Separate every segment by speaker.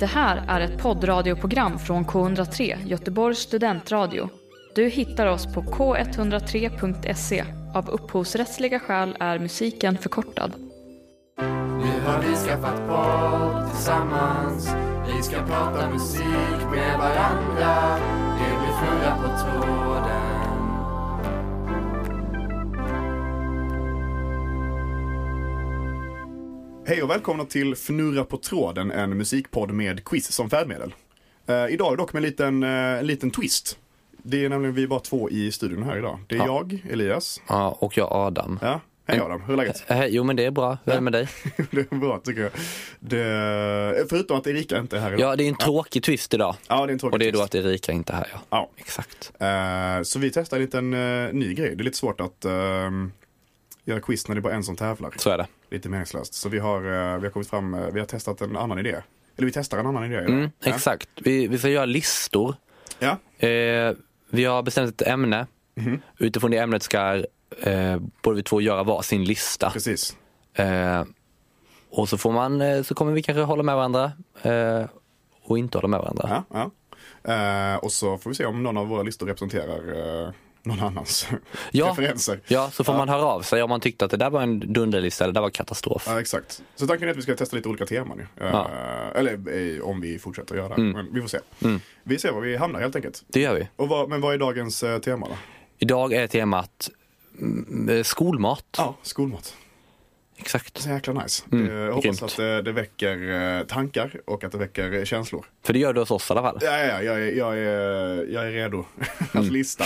Speaker 1: Det här är ett poddradioprogram från K103, Göteborgs studentradio. Du hittar oss på k103.se. Av upphovsrättsliga skäl är musiken förkortad.
Speaker 2: Nu har vi skaffat podd tillsammans Vi ska prata musik med varandra Det blir Fura på tråden
Speaker 3: Hej och välkomna till Fnurra på tråden, en musikpodd med quiz som färdmedel. Eh, idag dock med en liten, eh, en liten twist. Det är nämligen vi är bara två i studion här idag. Det är
Speaker 4: Ja.
Speaker 3: jag, Elias.
Speaker 4: Ja, och jag Adam.
Speaker 3: Ja, hej Adam, hur är läget?
Speaker 4: Eh, Jo men det är bra, hur är det med dig?
Speaker 3: det är bra tycker jag. Det, förutom att Erika inte är här idag.
Speaker 4: Ja det är en tråkig twist idag.
Speaker 3: Ja, det är en tråkig
Speaker 4: Och det är då
Speaker 3: twist.
Speaker 4: att Erika inte är här ja.
Speaker 3: Ja.
Speaker 4: Exakt.
Speaker 3: Eh, så vi testar en liten eh, ny grej. Det är lite svårt att eh, göra quiz när det är bara en som tävlar.
Speaker 4: Så är det.
Speaker 3: Lite meningslöst. Så vi har, eh, vi har kommit fram, eh, vi har testat en annan idé. Eller vi testar en annan idé idag.
Speaker 4: Mm,
Speaker 3: Ja.
Speaker 4: Exakt. Vi, vi ska göra listor.
Speaker 3: Ja.
Speaker 4: Eh, vi har bestämt ett ämne.
Speaker 3: Mhm.
Speaker 4: Utifrån det ämnet ska eh, både vi två göra var sin lista.
Speaker 3: precis.
Speaker 4: Eh, och så får man, eh, så kommer vi kanske hålla med varandra. Eh, och inte hålla med varandra.
Speaker 3: Ja, ja. Eh, och så får vi se om någon av våra listor representerar eh, någon annans
Speaker 4: Ja.
Speaker 3: referenser.
Speaker 4: Ja, så får man höra av sig om man tyckte att det där var en dunderlista eller det där var katastrof.
Speaker 3: Ja, exakt. Så tanken är att vi ska testa lite olika teman ju. Eh,
Speaker 4: Ja. Mm.
Speaker 3: Eller eh, om vi fortsätter göra det. Men vi får se. Vi ser var vi hamnar helt enkelt.
Speaker 4: Det gör vi.
Speaker 3: Och vad, men vad är dagens eh, tema då?
Speaker 4: Idag är temat mm, eh, skolmat.
Speaker 3: Ja, skolmat.
Speaker 4: Exakt.
Speaker 3: Så jäkla nice. Det- jag
Speaker 4: Mm. grymt.
Speaker 3: hoppas att det, det väcker eh, tankar och att det väcker eh, känslor.
Speaker 4: För det gör du hos oss i alla fall.
Speaker 3: Ja, ja, ja, jag, är- jag, är, jag är redo att
Speaker 4: Mm.
Speaker 3: lista.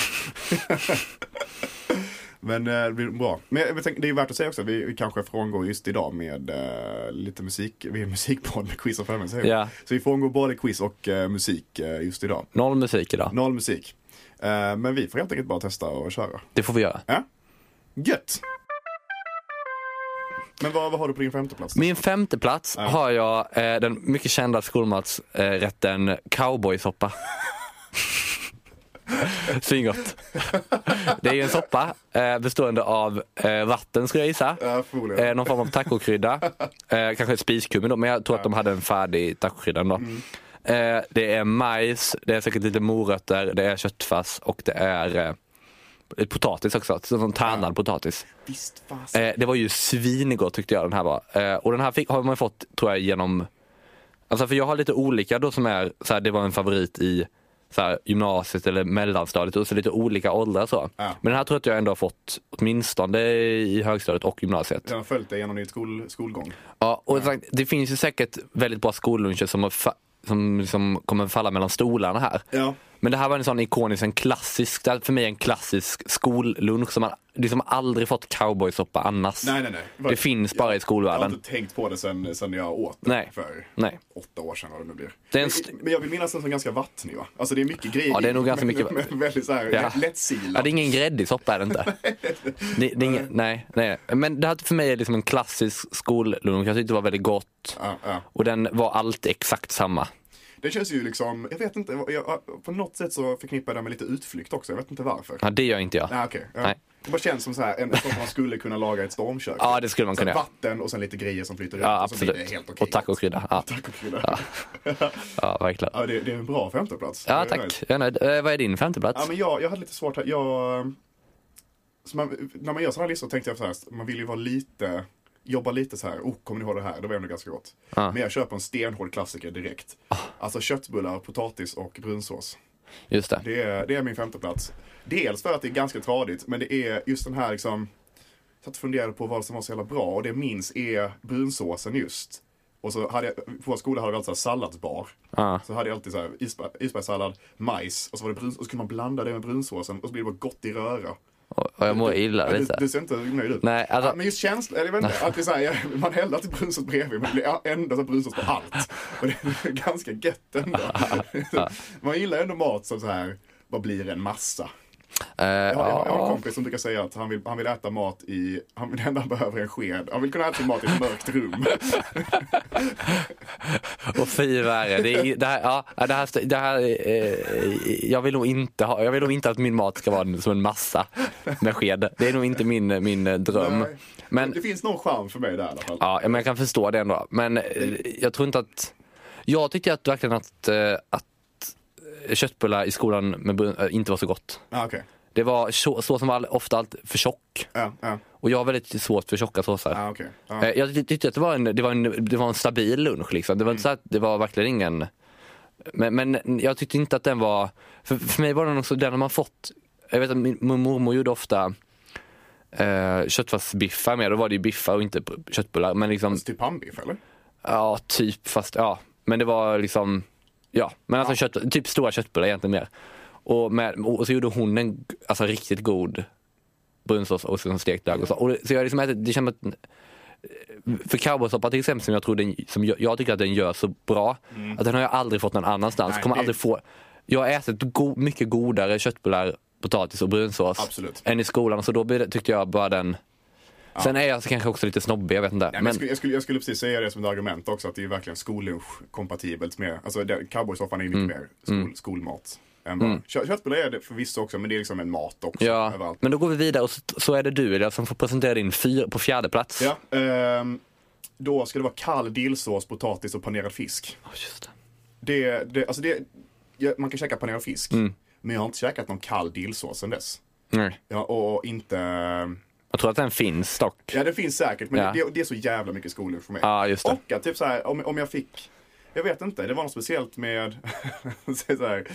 Speaker 3: Men eh, det blir bra. Men jag, jag tänker, det är värt att säga också, vi, vi kanske frångår just idag med eh, lite musik, vi är en musikpodd med quiz och förmiddag.
Speaker 4: Ja.
Speaker 3: Så vi frångår både quiz och eh, musik eh, just idag.
Speaker 4: Noll musik idag.
Speaker 3: Noll musik. Eh, men vi får helt enkelt bara testa och köra.
Speaker 4: Det får vi göra.
Speaker 3: Ja? Gött! Men vad, vad har du på din femteplats?
Speaker 4: Min femte plats
Speaker 3: Ja.
Speaker 4: har jag eh, den mycket kända skolmatsrätten eh, cowboysoppa. Svingott. Det är ju en soppa eh, bestående av eh, vatten skulle jag gissa.
Speaker 3: Ja, förmodligen.
Speaker 4: Eh, någon form av tacokrydda. Eh, kanske ett spiskummin då, men jag tror att de hade en färdig tacokrydda ändå.
Speaker 3: Mm.
Speaker 4: Eh, det är majs, det är säkert lite morötter, det är köttfärs och det är eh, potatis också. Så- Sån tärnad potatis.
Speaker 3: Visst fast.
Speaker 4: Eh, det var ju svingott tyckte jag den här var. Eh, och den här fick, har man fått tror jag genom, alltså för jag har lite olika då som är, så här, det var en favorit i så här, gymnasiet eller mellanstadiet och så lite olika åldrar så.
Speaker 3: Ja.
Speaker 4: Men den här tror jag att jag ändå har fått åtminstone i högstadiet och gymnasiet.
Speaker 3: Den har följt dig genom din skol, skolgång.
Speaker 4: Ja, och sagt, det finns ju säkert väldigt bra skolluncher som, har fa- som, liksom kommer falla mellan stolarna här.
Speaker 3: Ja.
Speaker 4: Men det här var en sån ikonisk, en klassisk, det här är för mig en klassisk skollunch som man liksom aldrig fått cowboysoppa annars.
Speaker 3: Nej, nej, nej.
Speaker 4: Det finns bara
Speaker 3: Jag
Speaker 4: i
Speaker 3: har
Speaker 4: skolvärlden.
Speaker 3: inte tänkt på det sen, sen jag åt det
Speaker 4: Nej.
Speaker 3: för
Speaker 4: Nej.
Speaker 3: åtta år sedan vad det nu blir.
Speaker 4: Det är en
Speaker 3: Men-
Speaker 4: st-
Speaker 3: men jag vill minnas den som ganska vattnig va? Alltså det är mycket grejer
Speaker 4: Ja, det är
Speaker 3: i,
Speaker 4: nog ganska
Speaker 3: men-
Speaker 4: mycket va-
Speaker 3: men väldigt såhär
Speaker 4: Ja.
Speaker 3: lättsilad.
Speaker 4: Ja, det är ingen gräddig soppa är det inte. Det, det är ingen, nej, nej. Men det här för mig är liksom en klassisk skollunch. Jag tyckte det var väldigt gott.
Speaker 3: Ja, ja.
Speaker 4: Och den var alltid exakt samma.
Speaker 3: Det känns ju liksom, jag vet inte, jag, på något sätt så förknippar jag det med lite utflykt också, jag vet inte varför.
Speaker 4: Ja, det gör inte jag.
Speaker 3: Nej, okej. Ja.
Speaker 4: Nej.
Speaker 3: Det bara känns som så här, en som man skulle kunna laga i ett stormkök.
Speaker 4: Ja, det skulle man
Speaker 3: Så
Speaker 4: kunna
Speaker 3: här
Speaker 4: göra.
Speaker 3: Vatten och sen lite grejer som flyter
Speaker 4: Ja,
Speaker 3: upp och så blir alltså, det
Speaker 4: absolut.
Speaker 3: helt okej.
Speaker 4: Och tacokrydda. Ja,
Speaker 3: Tacokrydda.
Speaker 4: ja verkligen.
Speaker 3: Ja, det, det är en bra femteplats.
Speaker 4: Ja,
Speaker 3: Jag är nöjd.
Speaker 4: tack. Jag är nöjd. Eh, vad är din
Speaker 3: Ja,
Speaker 4: femteplats?
Speaker 3: men jag, jag hade lite svårt här. Jag, så man, när man gör sådana här listor tänkte jag så här, man vill ju vara lite, jobba lite så här, oh, kommer ni ihåg det här? Det var ändå ganska gott.
Speaker 4: Ja.
Speaker 3: Men jag köper en stenhård klassiker direkt. Alltså köttbullar, potatis och brunsås.
Speaker 4: Just det.
Speaker 3: Det är, det är min femteplats. Dels för att det är ganska tradigt, men det är just den här liksom, jag satt och funderade på vad som var så jävla bra och det jag minns är brunsåsen just. Och så hade jag, på vår skola hade vi alltid så här salladsbar.
Speaker 4: Ja.
Speaker 3: Så hade jag alltid så här isberg- isbergssallad, majs och så var det brunsås. Och så kunde man blanda det med brunsåsen och så blir det bara gott i röra.
Speaker 4: Och och jag mår illa
Speaker 3: Ja, du,
Speaker 4: lite.
Speaker 3: du ser inte nöjd ut.
Speaker 4: Nej, alltså-
Speaker 3: Ja, men just känslan, eller jag vet inte, att det är så här, man häller alltid brunsås bredvid men det blir ändå så brunsås på allt. Och det är ganska gött ändå. Man gillar ändå mat som så här, vad blir en massa? Jag
Speaker 4: Eh,
Speaker 3: har, jag har- jag har en
Speaker 4: ja.
Speaker 3: kompis som brukar säga att han vill, han vill äta mat i, han, det enda han behöver är en sked. Han vill kunna äta sin mat i ett mörkt rum.
Speaker 4: Och fy värre. Det, är- det här, ja, det här, st- det här eh, jag, vill nog inte ha, jag vill nog inte att min mat ska vara en- som en massa med sked. Det är nog inte min, min eh, dröm.
Speaker 3: Nej.
Speaker 4: Men
Speaker 3: Det finns någon charm för mig där i alla fall.
Speaker 4: Ja, men jag kan förstå det ändå. Men eh, jag tror inte att Jag tyckte att, verkligen att, eh, att köttbullar i skolan med brun, eh, inte var så gott.
Speaker 3: Ja, Ah, okej.
Speaker 4: Det var så, såsen var all- ofta allt för tjock.
Speaker 3: Ja, ja,
Speaker 4: Och jag har väldigt svårt för tjocka såser.
Speaker 3: ja, okej. Ah.
Speaker 4: Eh,
Speaker 3: Ja.
Speaker 4: Jag ty- tyckte att det var en, det var en, det var en stabil lunch. Liksom. Det, var inte så att, det var verkligen ingen... Men, men jag tyckte inte att den var... För, för mig var den också den man fått... Jag vet att min, min mormor gjorde ofta eh, köttfärsbiffar med. Då var det ju biffar och inte p- köttbullar. Men liksom,
Speaker 3: Typ pannbiff eller?
Speaker 4: ja, typ. Fast ja. Men det var liksom... Ja, men alltså Kött, typ stora köttbullar egentligen mer. Och, med, och så gjorde hon en alltså, riktigt god brunsås och sen stekt lök. Och så. Och det, så jag har liksom ätit, det känns som att eh, för cowboysoppa till exempel som jag, tror den, som jag, jag tycker att den gör så bra, att den har jag aldrig fått någon annanstans.
Speaker 3: Mm. Nej,
Speaker 4: kommer
Speaker 3: det-
Speaker 4: aldrig få, jag har ätit go, mycket godare köttbullar, potatis och brunsås
Speaker 3: Absolut.
Speaker 4: än i skolan. Så då blir det- tyckte jag bara den... Sen är jag kanske också lite snobbig, jag vet inte.
Speaker 3: Ja, men... jag, skulle, jag, skulle, jag skulle precis säga det som ett argument också, att det är verkligen skollunch-kompatibelt med, alltså det- cowboysoffan är ju mycket mer skol, skolmat. Än bara. Kö, köttbullar är det förvisso också, men det är liksom en mat också.
Speaker 4: Ja,
Speaker 3: överallt.
Speaker 4: men då går vi vidare och så, så är det du Elia som får presentera din fyr på fjärde plats.
Speaker 3: Ja, ehm, då ska det vara kall dillsås, potatis och panerad fisk.
Speaker 4: Ja, just det.
Speaker 3: Det, det, alltså det, ja, man kan käka panerad fisk, men jag har inte käkat någon kall dillsås sedan dess.
Speaker 4: Nej.
Speaker 3: Ja, och inte... ehm,
Speaker 4: Jag tror att den finns dock.
Speaker 3: Ja, det finns säkert, men
Speaker 4: Ja.
Speaker 3: det, det är så jävla mycket skollunch för mig.
Speaker 4: Ja, just det.
Speaker 3: Och att typ så här, om, om jag fick, jag vet inte, det var något speciellt med, så här,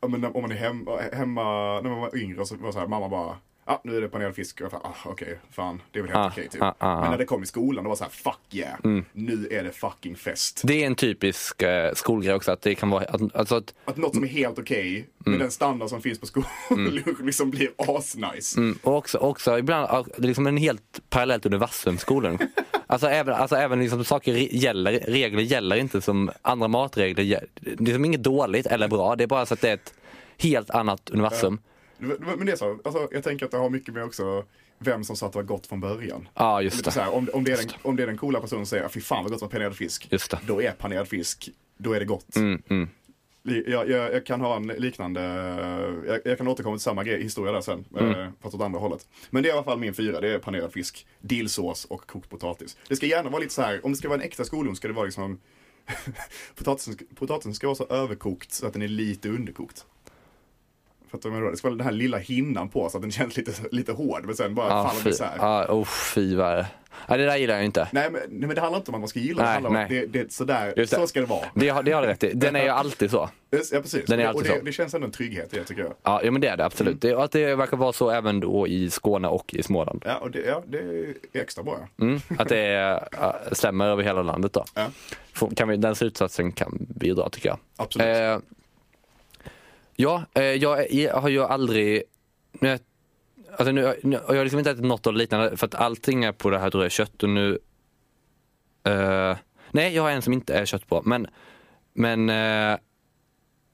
Speaker 3: ja, men om man är hemma, hemma när man var yngre så var det så här, mamma bara, ja ah, nu är det panerad fisk, och jag bara, ah, okej, fan, det är väl helt
Speaker 4: Ah,
Speaker 3: okej typ.
Speaker 4: ah, ah, Mm.
Speaker 3: Men
Speaker 4: ah.
Speaker 3: när det kom i skolan, då var det så här, fuck yeah, nu är det fucking fest.
Speaker 4: Det är en typisk eh, skolgrej också att det kan vara, att, alltså att
Speaker 3: Att något som är helt okej,
Speaker 4: Mm.
Speaker 3: med den standard som finns på skolan, liksom blir asnice.
Speaker 4: Mm, och också, också ibland, ah, det är liksom en helt parallellt universumskolan. Alltså även, alltså även liksom saker re- gäller, regler gäller inte som andra matregler. gäll- Det är liksom inget dåligt eller bra, det är bara så att det är ett helt annat universum.
Speaker 3: Men det är så, alltså, jag tänker att det har mycket med också vem som sa att det var gott från början.
Speaker 4: Ja, just
Speaker 3: Lite
Speaker 4: det.
Speaker 3: så här, om, om, det är den, om det är den coola personen som säger "Ah, fy fan vad gott med panerad fisk.
Speaker 4: Just det. Mm,
Speaker 3: Då är panerad fisk, då är det gott. Li- Jag, jag, jag kan ha en liknande, jag, jag kan återkomma till samma grej, historia där sen.
Speaker 4: Mm.
Speaker 3: eh, Fast åt andra hållet. Men det är i alla fall min fyra, det är panerad fisk, dillsås och kokt potatis. Det ska gärna vara lite så här, om det ska vara en äkta skollunch ska det vara liksom potatisen, potatisen ska vara så överkokt så att den är lite underkokt. Fattar du vad jag menar? Det ska vara den här lilla hinnan på så att den känns lite, lite hård men sen bara
Speaker 4: Ja,
Speaker 3: faller
Speaker 4: fy,
Speaker 3: den isär.
Speaker 4: ja, oh, fy vad är det? Ja, det där gillar jag inte.
Speaker 3: Nej men, nej men det handlar inte om att man ska gilla
Speaker 4: Nej,
Speaker 3: det, handlar om att
Speaker 4: nej.
Speaker 3: det, det, sådär,
Speaker 4: Just det.
Speaker 3: så ska det vara.
Speaker 4: Det har, det har du rätt i. Den är ju alltid så.
Speaker 3: Ja precis,
Speaker 4: Den är
Speaker 3: och
Speaker 4: alltid
Speaker 3: det,
Speaker 4: så.
Speaker 3: det känns ändå en trygghet i det tycker jag.
Speaker 4: Ja, ja men det är det absolut. Det, och att det verkar vara så även då i Skåne och i Småland.
Speaker 3: Ja, och det, ja, det är extra bra.
Speaker 4: Mm. Att det är, ja, stämmer över hela landet då.
Speaker 3: Ja.
Speaker 4: Får- Kan vi, den slutsatsen kan vi dra tycker jag.
Speaker 3: Absolut.
Speaker 4: Eh, ja, eh, jag, är- jag har ju aldrig... Nu, alltså nu, nu, och jag har liksom inte ätit något av det liknande för att allting är på det här tror jag, kött och nu... Eh, nej, jag har en som inte är kött på. Men, men eh,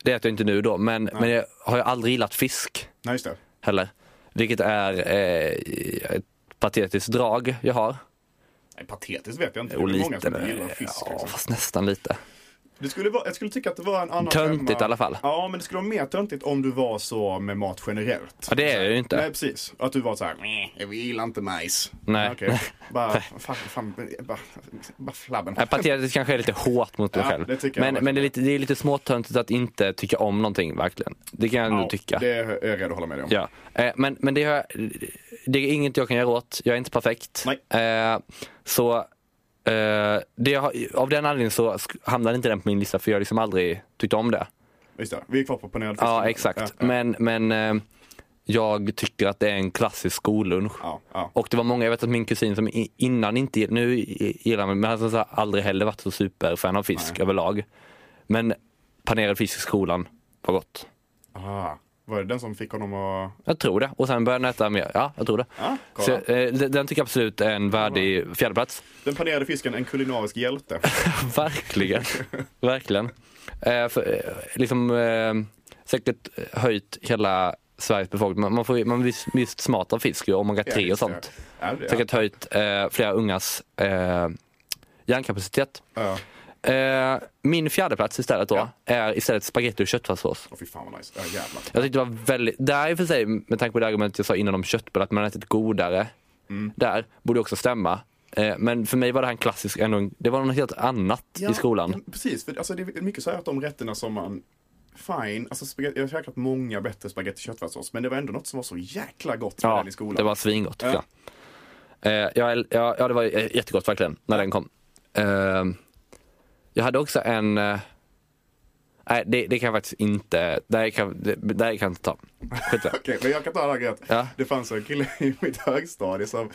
Speaker 4: det äter jag inte nu då. Men, men jag har ju aldrig gillat fisk
Speaker 3: Nej just det.
Speaker 4: heller. Vilket är eh, ett patetiskt drag jag har.
Speaker 3: Nej, patetiskt vet jag inte. Det
Speaker 4: Och
Speaker 3: är
Speaker 4: lite,
Speaker 3: många som inte
Speaker 4: men-
Speaker 3: gillar fisk.
Speaker 4: ja,
Speaker 3: Liksom.
Speaker 4: fast nästan lite.
Speaker 3: Det skulle vara, jag skulle tycka att det var en annan
Speaker 4: Töntigt
Speaker 3: femma.
Speaker 4: i alla fall.
Speaker 3: Ja, men det skulle vara mer töntigt om du var så med mat generellt.
Speaker 4: Ja, det är jag ju inte.
Speaker 3: Nej, precis. Att du var så här, "Meh, jag gillar inte majs.
Speaker 4: Nej.
Speaker 3: Ah, Okej. Bara, fan, fan, bara, bara flabben.
Speaker 4: Nej, Patetiskt kanske är lite hårt mot mig
Speaker 3: Ja,
Speaker 4: själv.
Speaker 3: det tycker jag
Speaker 4: men
Speaker 3: verkligen.
Speaker 4: men det, är lite, det är lite småtöntigt att inte tycka om någonting verkligen. Det kan jag
Speaker 3: Ja,
Speaker 4: nog tycka.
Speaker 3: Det är jag redo att hålla med dig om.
Speaker 4: Ja. Eh, men men det, har, det är inget jag kan göra åt. Jag är inte perfekt.
Speaker 3: Nej.
Speaker 4: Eh, så eh, det har, av den anledningen så sk- hamnade inte den på min lista för jag har liksom aldrig tyckt om det.
Speaker 3: Just det, vi är kvar på panerad fisk.
Speaker 4: Ja, exakt.
Speaker 3: Ja, ja.
Speaker 4: Men, men eh, jag tycker att det är en klassisk skollunch.
Speaker 3: Ja, ja.
Speaker 4: Och det var många, jag vet att min kusin som i- innan inte, gill- nu i- gillar man, men han har så här aldrig heller varit så superfan av fisk överlag. Men panerad fisk i skolan var gott.
Speaker 3: Ah, var det den som fick honom att...
Speaker 4: Jag tror det. Och sen började han äta mer. Ja, jag tror det.
Speaker 3: Ja, kolla.
Speaker 4: så, eh, den den tycker jag absolut är en värdig fjärdeplats.
Speaker 3: Den panerade fisken, en kulinarisk hjälte.
Speaker 4: Verkligen. Verkligen. Eh, för, eh, liksom, eh, säkert höjt hela Sveriges befolkning. Man, man får ju- man blir s- visst smart av fisk ju, omega 3 och sånt.
Speaker 3: Ja, det,
Speaker 4: Säkert höjt eh, flera ungas eh, hjärnkapacitet.
Speaker 3: Ja.
Speaker 4: Eh, min fjärde plats istället då
Speaker 3: Ja.
Speaker 4: är istället spagetti och köttfärssås.
Speaker 3: Åh fy fan vad nice. Ja jävlar.
Speaker 4: Jag tyckte det var väldigt, där i och för
Speaker 3: Mm.
Speaker 4: sig med tanke på det argumentet jag sa innan om köttbullar, att man ätit godare där, borde också stämma. Eh, Men för mig var det här en klassisk, ändå, en- det var något helt annat i skolan.
Speaker 3: ja, Precis, för alltså, det är mycket så här att de rätterna som man Fine, alltså, spagetti- jag har käkat många bättre spagetti och köttfärssås men det var ändå något som var så jäkla gott med
Speaker 4: Ja,
Speaker 3: den i skolan.
Speaker 4: det var svingott tycker
Speaker 3: Ja.
Speaker 4: jag. Eh, ja, el- ja, ja, det var j- jättegott verkligen när den kom. Eh, jag hade också en... eh, Nej, det, det kan jag faktiskt inte... Nej, kan, det, nej, kan jag inte ta. Skit i det.
Speaker 3: Okej, men jag kan ta det här grejen.
Speaker 4: Ja.
Speaker 3: Det fanns en kille i mitt högstadie som eh,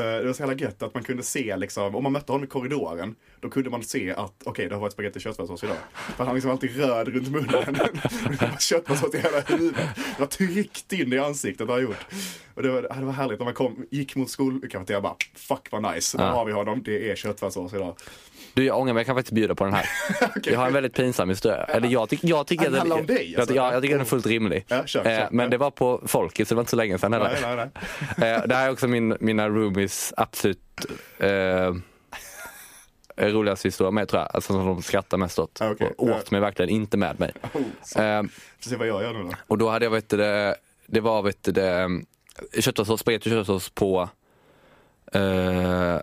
Speaker 3: det var så jävla gött att man kunde se liksom, om man mötte honom i korridoren, då kunde man se att okej, det har varit spagetti och köttfärssås idag. För han liksom alltid röd runt munnen. Det var köttfärssås i hela huvudet. Det var tryckt in i ansiktet har jag gjort. Och det var, det var härligt när man kom, gick mot skolkafeterian bara, fuck vad nice, där
Speaker 4: Ja.
Speaker 3: har vi honom, det är köttfärssås idag.
Speaker 4: Du, jag ångrar mig. Jag kan faktiskt bjuda på den här. Jag har en väldigt pinsam historia. Eller jag, tyck, jag tycker
Speaker 3: Den handlar om dig,
Speaker 4: jag,
Speaker 3: alltså.
Speaker 4: jag, jag tycker den är fullt rimlig.
Speaker 3: Ja, kör,
Speaker 4: Eh,
Speaker 3: kör.
Speaker 4: Men det var på Folket, så det var inte så länge sedan heller.
Speaker 3: Nej, nej, nej.
Speaker 4: Eh, det här är också min, mina roomies absolut eh, roligaste historia med tror jag. Alltså som de skrattar mest åt.
Speaker 3: Ja, Ah, okej.
Speaker 4: Och åt mig verkligen, inte med mig.
Speaker 3: Oh, så.
Speaker 4: Eh,
Speaker 3: Får se vad jag gör nu då.
Speaker 4: och då hade jag vet du, det, det var vet du, det, köttfärssås, spagetti och köttfärssås på eh,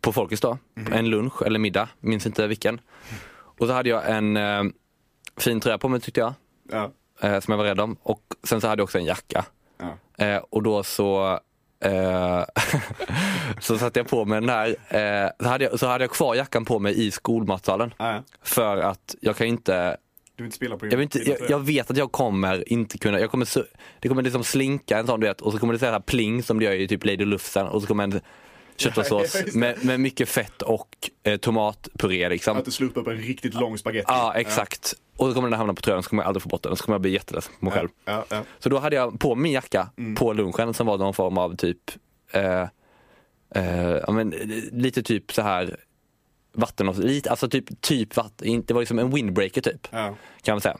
Speaker 4: på Folkis då. En lunch eller middag, minns inte vilken. Och så hade jag en eh, fin tröja på mig tyckte jag,
Speaker 3: Ja,
Speaker 4: eh, som jag var rädd om. Och sen så hade jag också en jacka.
Speaker 3: ja.
Speaker 4: Eh, och då så eh, så satte jag på mig den här. Eh, så, hade jag, så hade jag kvar jackan på mig i skolmatsalen.
Speaker 3: Ja, ja.
Speaker 4: För att jag kan inte,
Speaker 3: Du vill inte spilla på din
Speaker 4: jag, vill inte jag, jag vet att jag kommer inte kunna, jag kommer, su- det kommer liksom slinka en sån du vet och så kommer det säga så här pling som det gör i typ Lady Lufsen och så kommer en köttfärssås
Speaker 3: Ja, just det.
Speaker 4: med, med mycket fett och eh, tomatpuré liksom.
Speaker 3: Att du slår upp en riktigt lång spagetti.
Speaker 4: Ja exakt. Och så kommer den hamna på tröjan så kommer jag aldrig få bort den och så kommer jag bli jätteledsen på mig själv.
Speaker 3: Ja, Mm. ja.
Speaker 4: Så då hade jag på min jacka på lunchen som var någon form av typ, eh, eh, ja, men, eh, lite typ så här vatten och lite, alltså typ, typ vatten, inte- det var liksom en windbreaker typ
Speaker 3: Ja.
Speaker 4: kan man säga.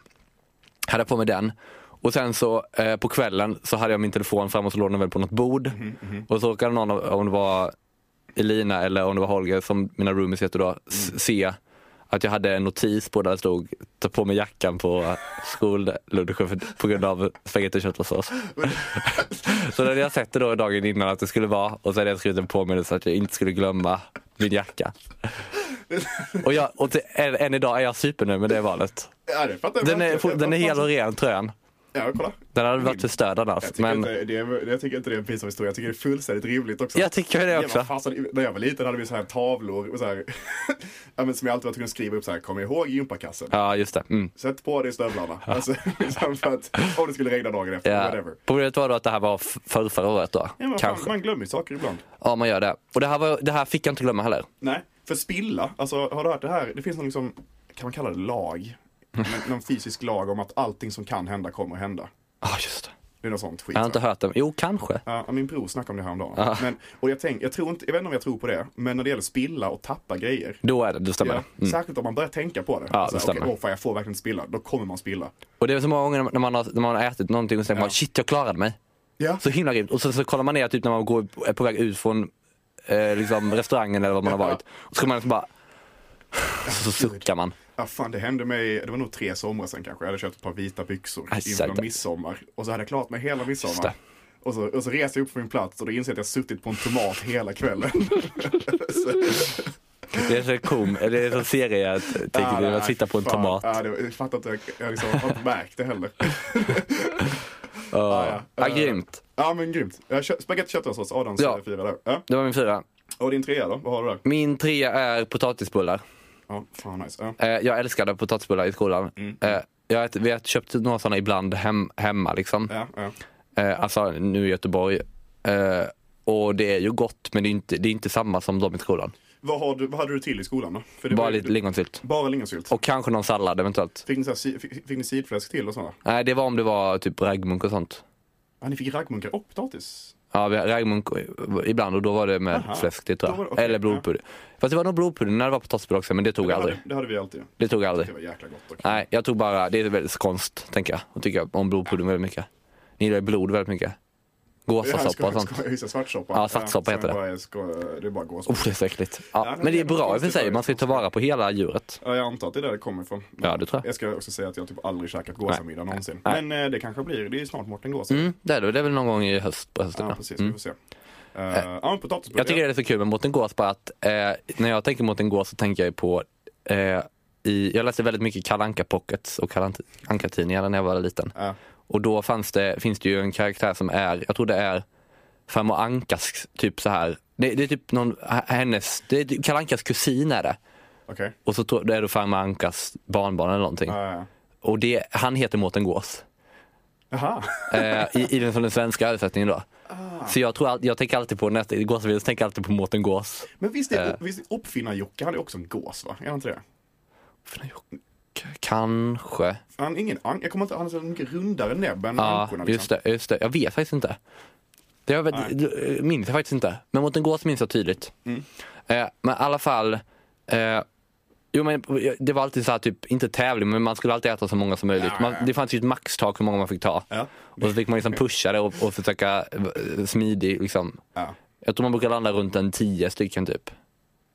Speaker 4: Hade jag på mig den. Och sen så eh, på kvällen så hade jag min telefon fram och så låg den väl på något bord. Och så råkade någon, av- om det var Elina eller om det var Holger som mina roomies heter då, s- se att jag hade en notis på där det stod ta på mig jackan på skollunchen för- på grund av spagetti och köttfärssås. så det hade jag sett det då dagen innan att det skulle vara och så hade jag skrivit en påminnelse att jag inte skulle glömma min jacka. och jag, och till, än, än idag är jag supernöjd med det valet.
Speaker 3: Ja, det fattar jag
Speaker 4: Den är,
Speaker 3: verkligen.
Speaker 4: fort- den är hel och ren tröjan.
Speaker 3: Ja, kolla.
Speaker 4: Den hade varit förstörd
Speaker 3: Jag
Speaker 4: annars.
Speaker 3: tycker,
Speaker 4: Men
Speaker 3: inte, det är, jag tycker inte det är en pinsam historia, jag tycker det är fullständigt rimligt också.
Speaker 4: jag tycker det
Speaker 3: Ja,
Speaker 4: också.
Speaker 3: vad fasen, när jag var liten hade vi så här tavlor och så här, ja, men som jag alltid var tvungen att skriva upp så här, kom ihåg gympakassen.
Speaker 4: Ja, just det. Mm.
Speaker 3: Sätt på dig stövlarna. Alltså, liksom för att, om det skulle regna dagen efter,
Speaker 4: Ja.
Speaker 3: whatever.
Speaker 4: Problemet var då att det här var f- förra, förra året då.
Speaker 3: Ja, men fan,
Speaker 4: Kanske.
Speaker 3: man glömmer ju saker ibland.
Speaker 4: Ja, man gör det. Och det här, var, det här fick jag inte glömma heller.
Speaker 3: Nej, för spilla, alltså har du hört det här? Det finns någon liksom, kan man kalla det lag? Men, någon fysisk lag om att allting som kan hända kommer att hända.
Speaker 4: Ja, just det.
Speaker 3: Det är något sånt skit.
Speaker 4: Jag har inte hört den. Jo, kanske.
Speaker 3: Ja, min bror snackade om det häromdagen. Men, och jag, tänk, jag, tror inte, jag vet inte om jag tror på det, men när det gäller spilla och tappa grejer.
Speaker 4: Då är det, det stämmer.
Speaker 3: Ja,
Speaker 4: Mm.
Speaker 3: Särskilt om man börjar tänka på det.
Speaker 4: Ja,
Speaker 3: Alltså,
Speaker 4: det stämmer.
Speaker 3: okej, åh, fan, jag får verkligen inte spilla. Då kommer man spilla.
Speaker 4: Och det är så många gånger när man har, när man har ätit någonting och säger man shit, jag klarade mig.
Speaker 3: Ja.
Speaker 4: Så himla grymt. Och sen så kollar man ner typ när man går, är på väg ut från eh, liksom, restaurangen eller vad man har varit. Och så kommer man liksom bara... Så suckar man.
Speaker 3: ja, fan det hände mig, det var nog tre somrar sen kanske. Jag hade köpt ett par vita byxor
Speaker 4: Aj,
Speaker 3: inför
Speaker 4: säkert.
Speaker 3: midsommar. Och så hade jag klarat mig hela
Speaker 4: Just
Speaker 3: midsommar.
Speaker 4: det.
Speaker 3: Och så, och så reser jag upp från min plats och då inser jag att jag suttit på en tomat hela kvällen.
Speaker 4: Det är så kom, eller det är så serie jag tänker,
Speaker 3: nej,
Speaker 4: att sitta på en
Speaker 3: fan.
Speaker 4: tomat.
Speaker 3: Ja, det, jag fattar inte, jag, jag liksom, har inte märkt det heller.
Speaker 4: Ja,
Speaker 3: ja.
Speaker 4: ja, grymt.
Speaker 3: Ja men grymt. Jag kö- Spagetti köttfärssås, Adams
Speaker 4: Ja.
Speaker 3: ja. fyra där. Ja.
Speaker 4: Det var min fyra.
Speaker 3: Och din trea då, vad har du där?
Speaker 4: Min trea är potatisbullar.
Speaker 3: Ja, fan nice. Ja.
Speaker 4: Eh, jag älskade potatisbullar i skolan.
Speaker 3: Mm.
Speaker 4: Eh, jag har, vi har köpt några sådana ibland hem, hemma liksom.
Speaker 3: Ja, ja.
Speaker 4: Eh, alltså nu i Göteborg. Eh, och det är ju gott men det är inte, det är inte samma som de i skolan.
Speaker 3: Vad, har du, vad hade du till i skolan då? För det
Speaker 4: Bara
Speaker 3: var ju-
Speaker 4: lite lingonsylt.
Speaker 3: Bara lingonsylt?
Speaker 4: Och kanske någon sallad eventuellt.
Speaker 3: Fick ni, så här, si- fick, fick ni sidfläsk till och sådana?
Speaker 4: Nej det var om det var typ raggmunk och sånt.
Speaker 3: Ja, ni fick raggmunkar och potatis?
Speaker 4: Ja, vi har raggmunk ibland och då var det med
Speaker 3: Aha.
Speaker 4: fläsk till tror
Speaker 3: Då var
Speaker 4: jag.
Speaker 3: det- okej,
Speaker 4: Eller blodpudding. Fast det var nog blodpudding när det var potatisbullar också men det tog
Speaker 3: Det
Speaker 4: jag aldrig.
Speaker 3: hade, det hade vi alltid.
Speaker 4: Det tog jag aldrig.
Speaker 3: Det var jäkla gott dock.
Speaker 4: Nej, jag tog bara, det är väldigt skånskt tänker jag. Och tycker jag om blodpudding väldigt mycket. Ni gillar ju blod väldigt mycket. Gåsasoppa och sånt.
Speaker 3: Just svartsoppa.
Speaker 4: Ja, svartsoppa
Speaker 3: sen
Speaker 4: heter det.
Speaker 3: Bara, sko- det är bara gåsoppa.
Speaker 4: Oh, det är så äckligt. Ja,
Speaker 3: Ja, men
Speaker 4: men det
Speaker 3: det
Speaker 4: är
Speaker 3: är
Speaker 4: bra i och för
Speaker 3: konstigt
Speaker 4: sig, man ska ju ta vara på hela djuret.
Speaker 3: Ja, jag antar att det är där det kommer ifrån.
Speaker 4: Ja, det tror jag.
Speaker 3: Jag ska också säga att jag typ aldrig käkat gåsamiddag någonsin.
Speaker 4: Nej.
Speaker 3: Men eh, det kanske blir, det är ju snart Mårten Gås.
Speaker 4: Mm, det är det, det är väl någon gång i höst, på hösten.
Speaker 3: Ja,
Speaker 4: Ja,
Speaker 3: precis. Vi
Speaker 4: Mm.
Speaker 3: får se. Eh, ja, en potatisbulle.
Speaker 4: Jag tycker det är lite kul med Mårten Gås bara att eh, när jag tänker Mårten Gås så tänker jag ju på eh, i, jag läste väldigt mycket Kalle Anka Pockets och Kalle Anka tidningar när jag var liten.
Speaker 3: Ja.
Speaker 4: Och då fanns det, finns det ju en karaktär som är, jag tror det är farmor Ankas typ så här. Det, det är typ någon, h- hennes, det är Kalle Ankas kusin är det.
Speaker 3: Okej. Eh,
Speaker 4: Och så tror- det är det farmor Ankas barnbarn eller någonting.
Speaker 3: Ja, ja.
Speaker 4: Och det, han heter Mårten Gås.
Speaker 3: Jaha.
Speaker 4: Eh, i, I den, som den svenska översättningen då. Så jag, tror, all- jag tänker alltid på, när jag gåsar så tänker jag alltid på Mårten Gås.
Speaker 3: Men visst är,
Speaker 4: Eh.
Speaker 3: visst är Uppfinnar-Jocke, han är också en gås va? Är han inte det?
Speaker 4: Fan, jag- k- Kanske.
Speaker 3: Han är ingen an- jag kommer inte, han är så mycket rundare näbb än
Speaker 4: Ja,
Speaker 3: ankorna. liksom.
Speaker 4: just det, just det. Jag vet faktiskt inte. Det jag vet, det minns jag faktiskt inte. Men mot en gås minns jag tydligt.
Speaker 3: Mm.
Speaker 4: Eh, men i alla fall. Eh, jo, men det var alltid så här, typ, inte tävling, men man skulle alltid äta så många som möjligt. Man, det fanns ju ett maxtak hur många man fick ta.
Speaker 3: Ja.
Speaker 4: Och så fick man liksom pusha det och, och försöka eh, smidig. Liksom.
Speaker 3: Ja.
Speaker 4: Jag tror man brukar landa runt en tio stycken typ.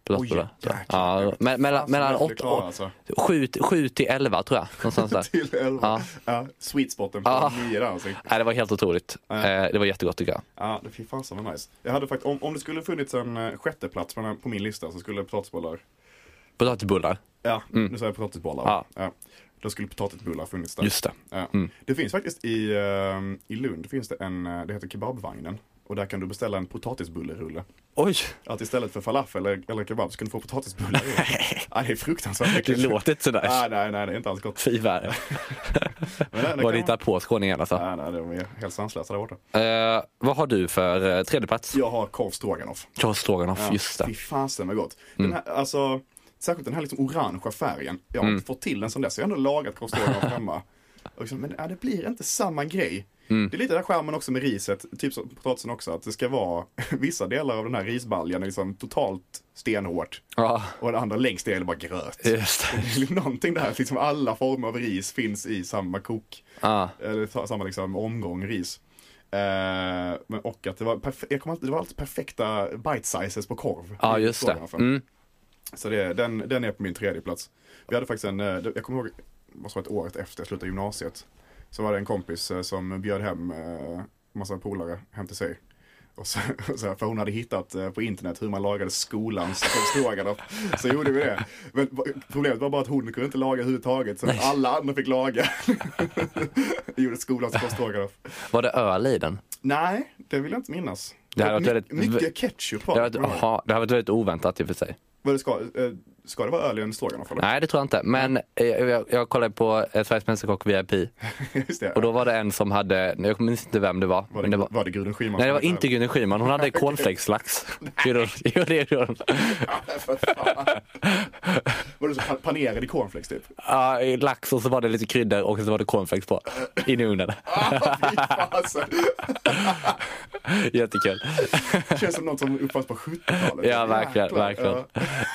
Speaker 4: På
Speaker 3: Oj,
Speaker 4: lastbilar. Så.
Speaker 3: jäklar.
Speaker 4: ja, me- mellan,
Speaker 3: Fan, så
Speaker 4: mellan
Speaker 3: jag skulle
Speaker 4: åtta,
Speaker 3: klara, alltså.
Speaker 4: sju, sju till elva tror jag. Någonstans där.
Speaker 3: Till elva. Ja.
Speaker 4: Ja.
Speaker 3: sweet spoten på
Speaker 4: Ja.
Speaker 3: nio där alltså.
Speaker 4: Nej, det var helt otroligt. Eh, det var jättegott tycker jag.
Speaker 3: Ja, det fy fasen vad nice. Jag hade faktiskt, om, om det skulle funnits en eh, sjätte plats på, den här- på min lista så skulle potatisbollar,
Speaker 4: Potatisbullar.
Speaker 3: ja, nu säger jag potatisbollar.
Speaker 4: Mm. Ja.
Speaker 3: Då skulle potatisbullar funnits där.
Speaker 4: Just det. Mm.
Speaker 3: Ja. Det finns faktiskt i, eh, i Lund, finns det en, eh, det heter Kebabvagnen. Och där kan du beställa en potatisbullerulle.
Speaker 4: Oj,
Speaker 3: Att istället för falafel eller, eller kebab så kan du få potatisbullar. ja, det är fruktansvärt
Speaker 4: det låter inte sådär.
Speaker 3: Nej, nej, nej, det är inte alls gott.
Speaker 4: Fy värre.
Speaker 3: Men det, det
Speaker 4: Vad
Speaker 3: kan
Speaker 4: du
Speaker 3: man-
Speaker 4: hittar på skåningen alltså.
Speaker 3: Nej, nej, de är helt sanslösa där borta.
Speaker 4: Eh, vad har du för eh, tredjeplats?
Speaker 3: Jag har korv stroganoff.
Speaker 4: Klas Stroganoff,
Speaker 3: Fy
Speaker 4: just det. Mm.
Speaker 3: fasen vad gott. Den här, alltså, särskilt den här liksom orangea färgen. Jag har inte fått till den som dess. Jag har ändå lagat korv stroganoff hemma. Och liksom, men ja, det blir inte samma grej.
Speaker 4: Mm.
Speaker 3: Det är lite där skärmen också med riset, typ som potatisen också, att det ska vara vissa delar av den här risbaljan är liksom totalt stenhårt
Speaker 4: Ja,
Speaker 3: och den andra längst ner är det bara gröt.
Speaker 4: just det.
Speaker 3: Det är Någonting där, liksom alla former av ris finns i samma kok.
Speaker 4: Ja.
Speaker 3: Eller ta- samma liksom omgång ris. Eh, men och att det var, perf- jag kommer alltid, det var alltid perfekta bite sizes på korv.
Speaker 4: Ja, just det. Mm.
Speaker 3: Så det, den, den är på min tredje plats. Vi hade faktiskt en, eh, jag kommer ihåg, måste vara ett året efter jag slutade gymnasiet. Så var det en kompis eh, som bjöd hem eh, massa polare hem till sig. Och så, så här, för hon hade hittat eh, på internet hur man lagade skolans korvstroganoff. Så gjorde vi det. Men va- problemet var bara att hon kunde inte laga överhuvudtaget. Så alla andra fick laga. Vi gjorde skolans korvstroganoff.
Speaker 4: Var det öl i den?
Speaker 3: Nej, det vill jag inte minnas.
Speaker 4: Det här
Speaker 3: My-
Speaker 4: var väldigt-
Speaker 3: mycket ketchup var
Speaker 4: Det
Speaker 3: det. kommer
Speaker 4: har varit,
Speaker 3: jag ihåg.
Speaker 4: aha, det har varit väldigt oväntat i och för sig.
Speaker 3: Vad det ska, eh, ska det vara öl i en stroganoff? eller?
Speaker 4: Nej, det tror jag inte. Men eh, jag, jag kollade på eh, Sveriges Mästerkock VIP
Speaker 3: Just det.
Speaker 4: och då var det en som hade, jag minns inte vem det var.
Speaker 3: Var
Speaker 4: men
Speaker 3: det,
Speaker 4: det var
Speaker 3: var, det Gudrun Schyman?
Speaker 4: Nej det var
Speaker 3: som
Speaker 4: inte
Speaker 3: hette
Speaker 4: Gudrun Schyman, hon hade cornflakes-lax. Gjorde hon- Jo det gjorde hon.
Speaker 3: det? Var det så pan- panerad i cornflakes typ?
Speaker 4: Ja, lax och så var det lite kryddor och så var det cornflakes på. In i ugnen.
Speaker 3: Ah, fy fasen.
Speaker 4: Jättekul.
Speaker 3: Känns som något som uppfanns på 70-talet.
Speaker 4: Ja verkligen,
Speaker 3: Jäklar.
Speaker 4: verkligen.
Speaker 3: Ja.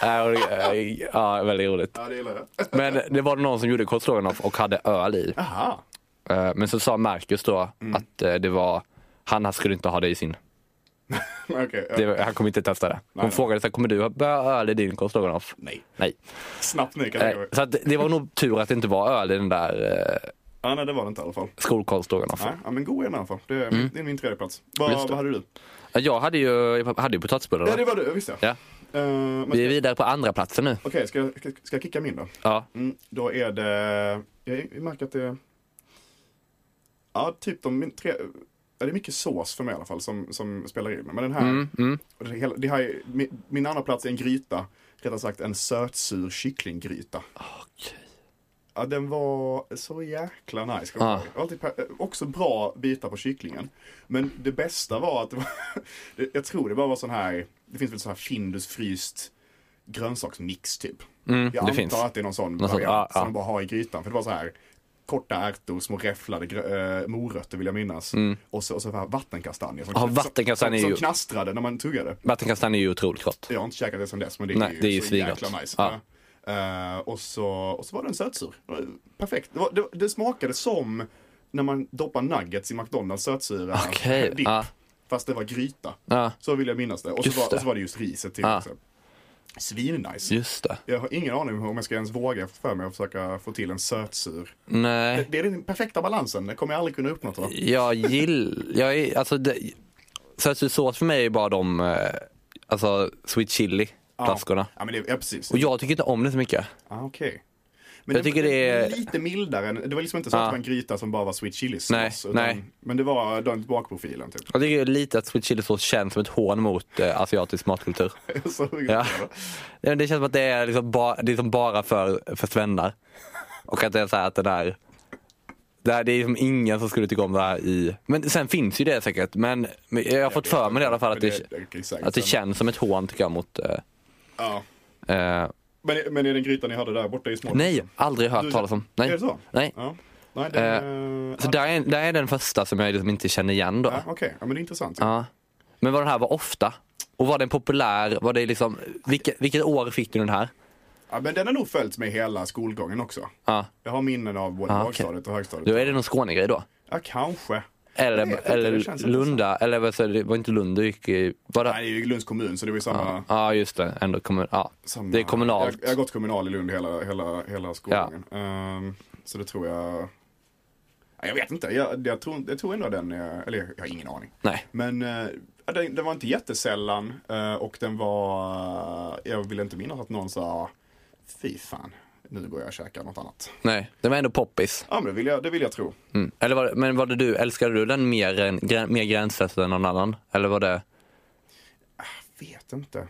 Speaker 4: Ja, och det- Ja, väldigt roligt.
Speaker 3: Ja, det gillar jag.
Speaker 4: Men det var någon som gjorde korv stroganoff och hade öl i.
Speaker 3: Aha.
Speaker 4: Eh, Men så sa Marcus då
Speaker 3: Mm.
Speaker 4: att eh, det var, han skulle inte ha det i sin.
Speaker 3: Okej. ja.
Speaker 4: Det var, han kommer inte testa det.
Speaker 3: Nej, nej.
Speaker 4: Hon frågade så här, kommer du att börja ha öl i din korv stroganoff?
Speaker 3: Nej.
Speaker 4: Nej.
Speaker 3: Snabbt ny
Speaker 4: Eh,
Speaker 3: kategori.
Speaker 4: Så att det var nog tur att det inte var öl i den där eh,
Speaker 3: Ja, nej, det var det inte i alla fall.
Speaker 4: skolkorv stroganoff.
Speaker 3: Nej, ja, men god är den i alla fall. Det är, det är min tredje plats. Vad,
Speaker 4: Mm. Just det.
Speaker 3: vad hade du?
Speaker 4: Ja, Jag hade ju, jag hade ju potatisbullar.
Speaker 3: Ja,
Speaker 4: va?
Speaker 3: det var du, visst ja.
Speaker 4: Ja.
Speaker 3: Eh, men-
Speaker 4: Vi är vidare på andra platsen nu.
Speaker 3: Okej, ska, jag- ska, ska jag kicka min då?
Speaker 4: Ja.
Speaker 3: Mm, då är det, jag märker att det, ja typ de min- tre, ja, det är mycket sås för mig i alla fall som, som spelar in. Men den här,
Speaker 4: Mm, mm.
Speaker 3: och det, hela- det här är, min, min andra plats är en gryta, rättare sagt en sötsur kycklinggryta. Ja, den var så jäkla nice. ska jag
Speaker 4: Ah.
Speaker 3: säga. Det var Alltid, per- också bra bitar på kycklingen. Men det bästa var att det var, det- jag tror det bara var sån här, det finns väl sån här Findus fryst grönsaksmix typ.
Speaker 4: Mm,
Speaker 3: Jag
Speaker 4: det
Speaker 3: antar
Speaker 4: finns.
Speaker 3: att det är någon sån
Speaker 4: Någon sån,
Speaker 3: variant
Speaker 4: ja,
Speaker 3: som
Speaker 4: ja.
Speaker 3: de bara har i grytan. För det var så här korta ärtor, små räfflade grö- eh, morötter vill jag minnas. Och så, och så här vattenkastanjer som,
Speaker 4: Mm. Ja, vattenkastanjer
Speaker 3: som, som,
Speaker 4: är ju-
Speaker 3: knastrade när man tuggade.
Speaker 4: Vattenkastanj är ju otroligt gott.
Speaker 3: Jag har inte käkat det sedan dess men det är
Speaker 4: Nej,
Speaker 3: ju,
Speaker 4: det är ju
Speaker 3: så
Speaker 4: svingott.
Speaker 3: jäkla nice.
Speaker 4: Ja.
Speaker 3: Eh, och, så, och så var den sötsur. Det var Perfekt. Det, var, det, det smakade som när man doppar nuggets i McDonalds sötsura
Speaker 4: Okej,
Speaker 3: dipp.
Speaker 4: ja.
Speaker 3: Fast det var gryta.
Speaker 4: Ja,
Speaker 3: Så vill jag minnas det. Och så,
Speaker 4: Just
Speaker 3: var,
Speaker 4: det.
Speaker 3: och så var det just riset till.
Speaker 4: Ja.
Speaker 3: också. Svinnice.
Speaker 4: just det.
Speaker 3: Jag har ingen aning om jag ska ens våga för mig att försöka få till en sötsur. Det,
Speaker 4: Nej,
Speaker 3: det är den perfekta balansen, det kommer jag aldrig kunna uppnå tror jag.
Speaker 4: jag gillar, jag är, alltså det, Sötsur för mig är bara de, eh, alltså sweet chili flaskorna.
Speaker 3: Ja, men det, ja precis.
Speaker 4: Och jag tycker inte om det så mycket.
Speaker 3: Ah, okej. Men
Speaker 4: Jag
Speaker 3: det,
Speaker 4: tycker
Speaker 3: det,
Speaker 4: det är-
Speaker 3: var lite mildare. än- Det var liksom inte så att
Speaker 4: Ja.
Speaker 3: det var en gryta som bara var sweet chili sås.
Speaker 4: Nej,
Speaker 3: utan-
Speaker 4: nej.
Speaker 3: Men det var den bakprofilen typ.
Speaker 4: Jag tycker lite att sweet chili-sås känns som ett hån mot eh, asiatisk matkultur.
Speaker 3: Så,
Speaker 4: Ja. Det det känns som att det är liksom, ba, det är liksom bara för, för svennar. Och att det är så här att den här, det, här, det är liksom ingen som skulle tycka om det här i... Men sen finns ju det säkert. Men men jag har fått för mig det i alla fall att
Speaker 3: Men
Speaker 4: det,
Speaker 3: det- det är säkert
Speaker 4: att det
Speaker 3: sen.
Speaker 4: känns som ett hån tycker jag mot... Eh,
Speaker 3: Ja.
Speaker 4: eh,
Speaker 3: Men, men är den grytan ni hörde där borta i Småland?
Speaker 4: nej, aldrig hört
Speaker 3: Du-
Speaker 4: talas om. Nej.
Speaker 3: Är det så?
Speaker 4: Nej. alltså-
Speaker 3: Ja. Nej, den, eh,
Speaker 4: Så där är, där är den första som jag liksom inte känner igen då.
Speaker 3: ja, Okej, ja, men det är intressant.
Speaker 4: Ja. Men var den här var ofta? Och var den populär? Var det liksom, vilket, vilket år fick du den här?
Speaker 3: Ja, men den har nog följt mig hela skolgången också.
Speaker 4: Ja.
Speaker 3: Jag har minnen av både
Speaker 4: Ah, okej.
Speaker 3: högstadiet och högstadiet.
Speaker 4: Då är det någon Skånegrej då?
Speaker 3: Ja, kanske.
Speaker 4: Eller,
Speaker 3: vet inte, det känns
Speaker 4: eller
Speaker 3: inte
Speaker 4: Lunda, eller vad säger du? det var inte Lunda du gick i... Var
Speaker 3: Nej,
Speaker 4: det?
Speaker 3: det är ju Lunds kommun så det var ju samma.
Speaker 4: Ja ah, just det, ändå kommun, ja.
Speaker 3: samma
Speaker 4: det är kommunalt.
Speaker 3: Jag, jag har gått kommunal i Lund hela, hela, hela skolgången. Ehm, så det tror jag... Ja, Jag vet inte, jag, jag, tror, jag tror ändå den, är- eller jag har ingen aning.
Speaker 4: Nej.
Speaker 3: Men eh, ja, den, den var inte jättesällan eh, och den var, jag vill inte minnas att någon sa, fy fan, nu går jag och käkar något annat.
Speaker 4: Nej, det var ändå poppis.
Speaker 3: Ja men det vill jag, det vill jag tro.
Speaker 4: Mm. Eller var, det- men var det du, älskade du den mer, än, grä- mer gränslöst än någon annan? Eller var det...
Speaker 3: Vet inte.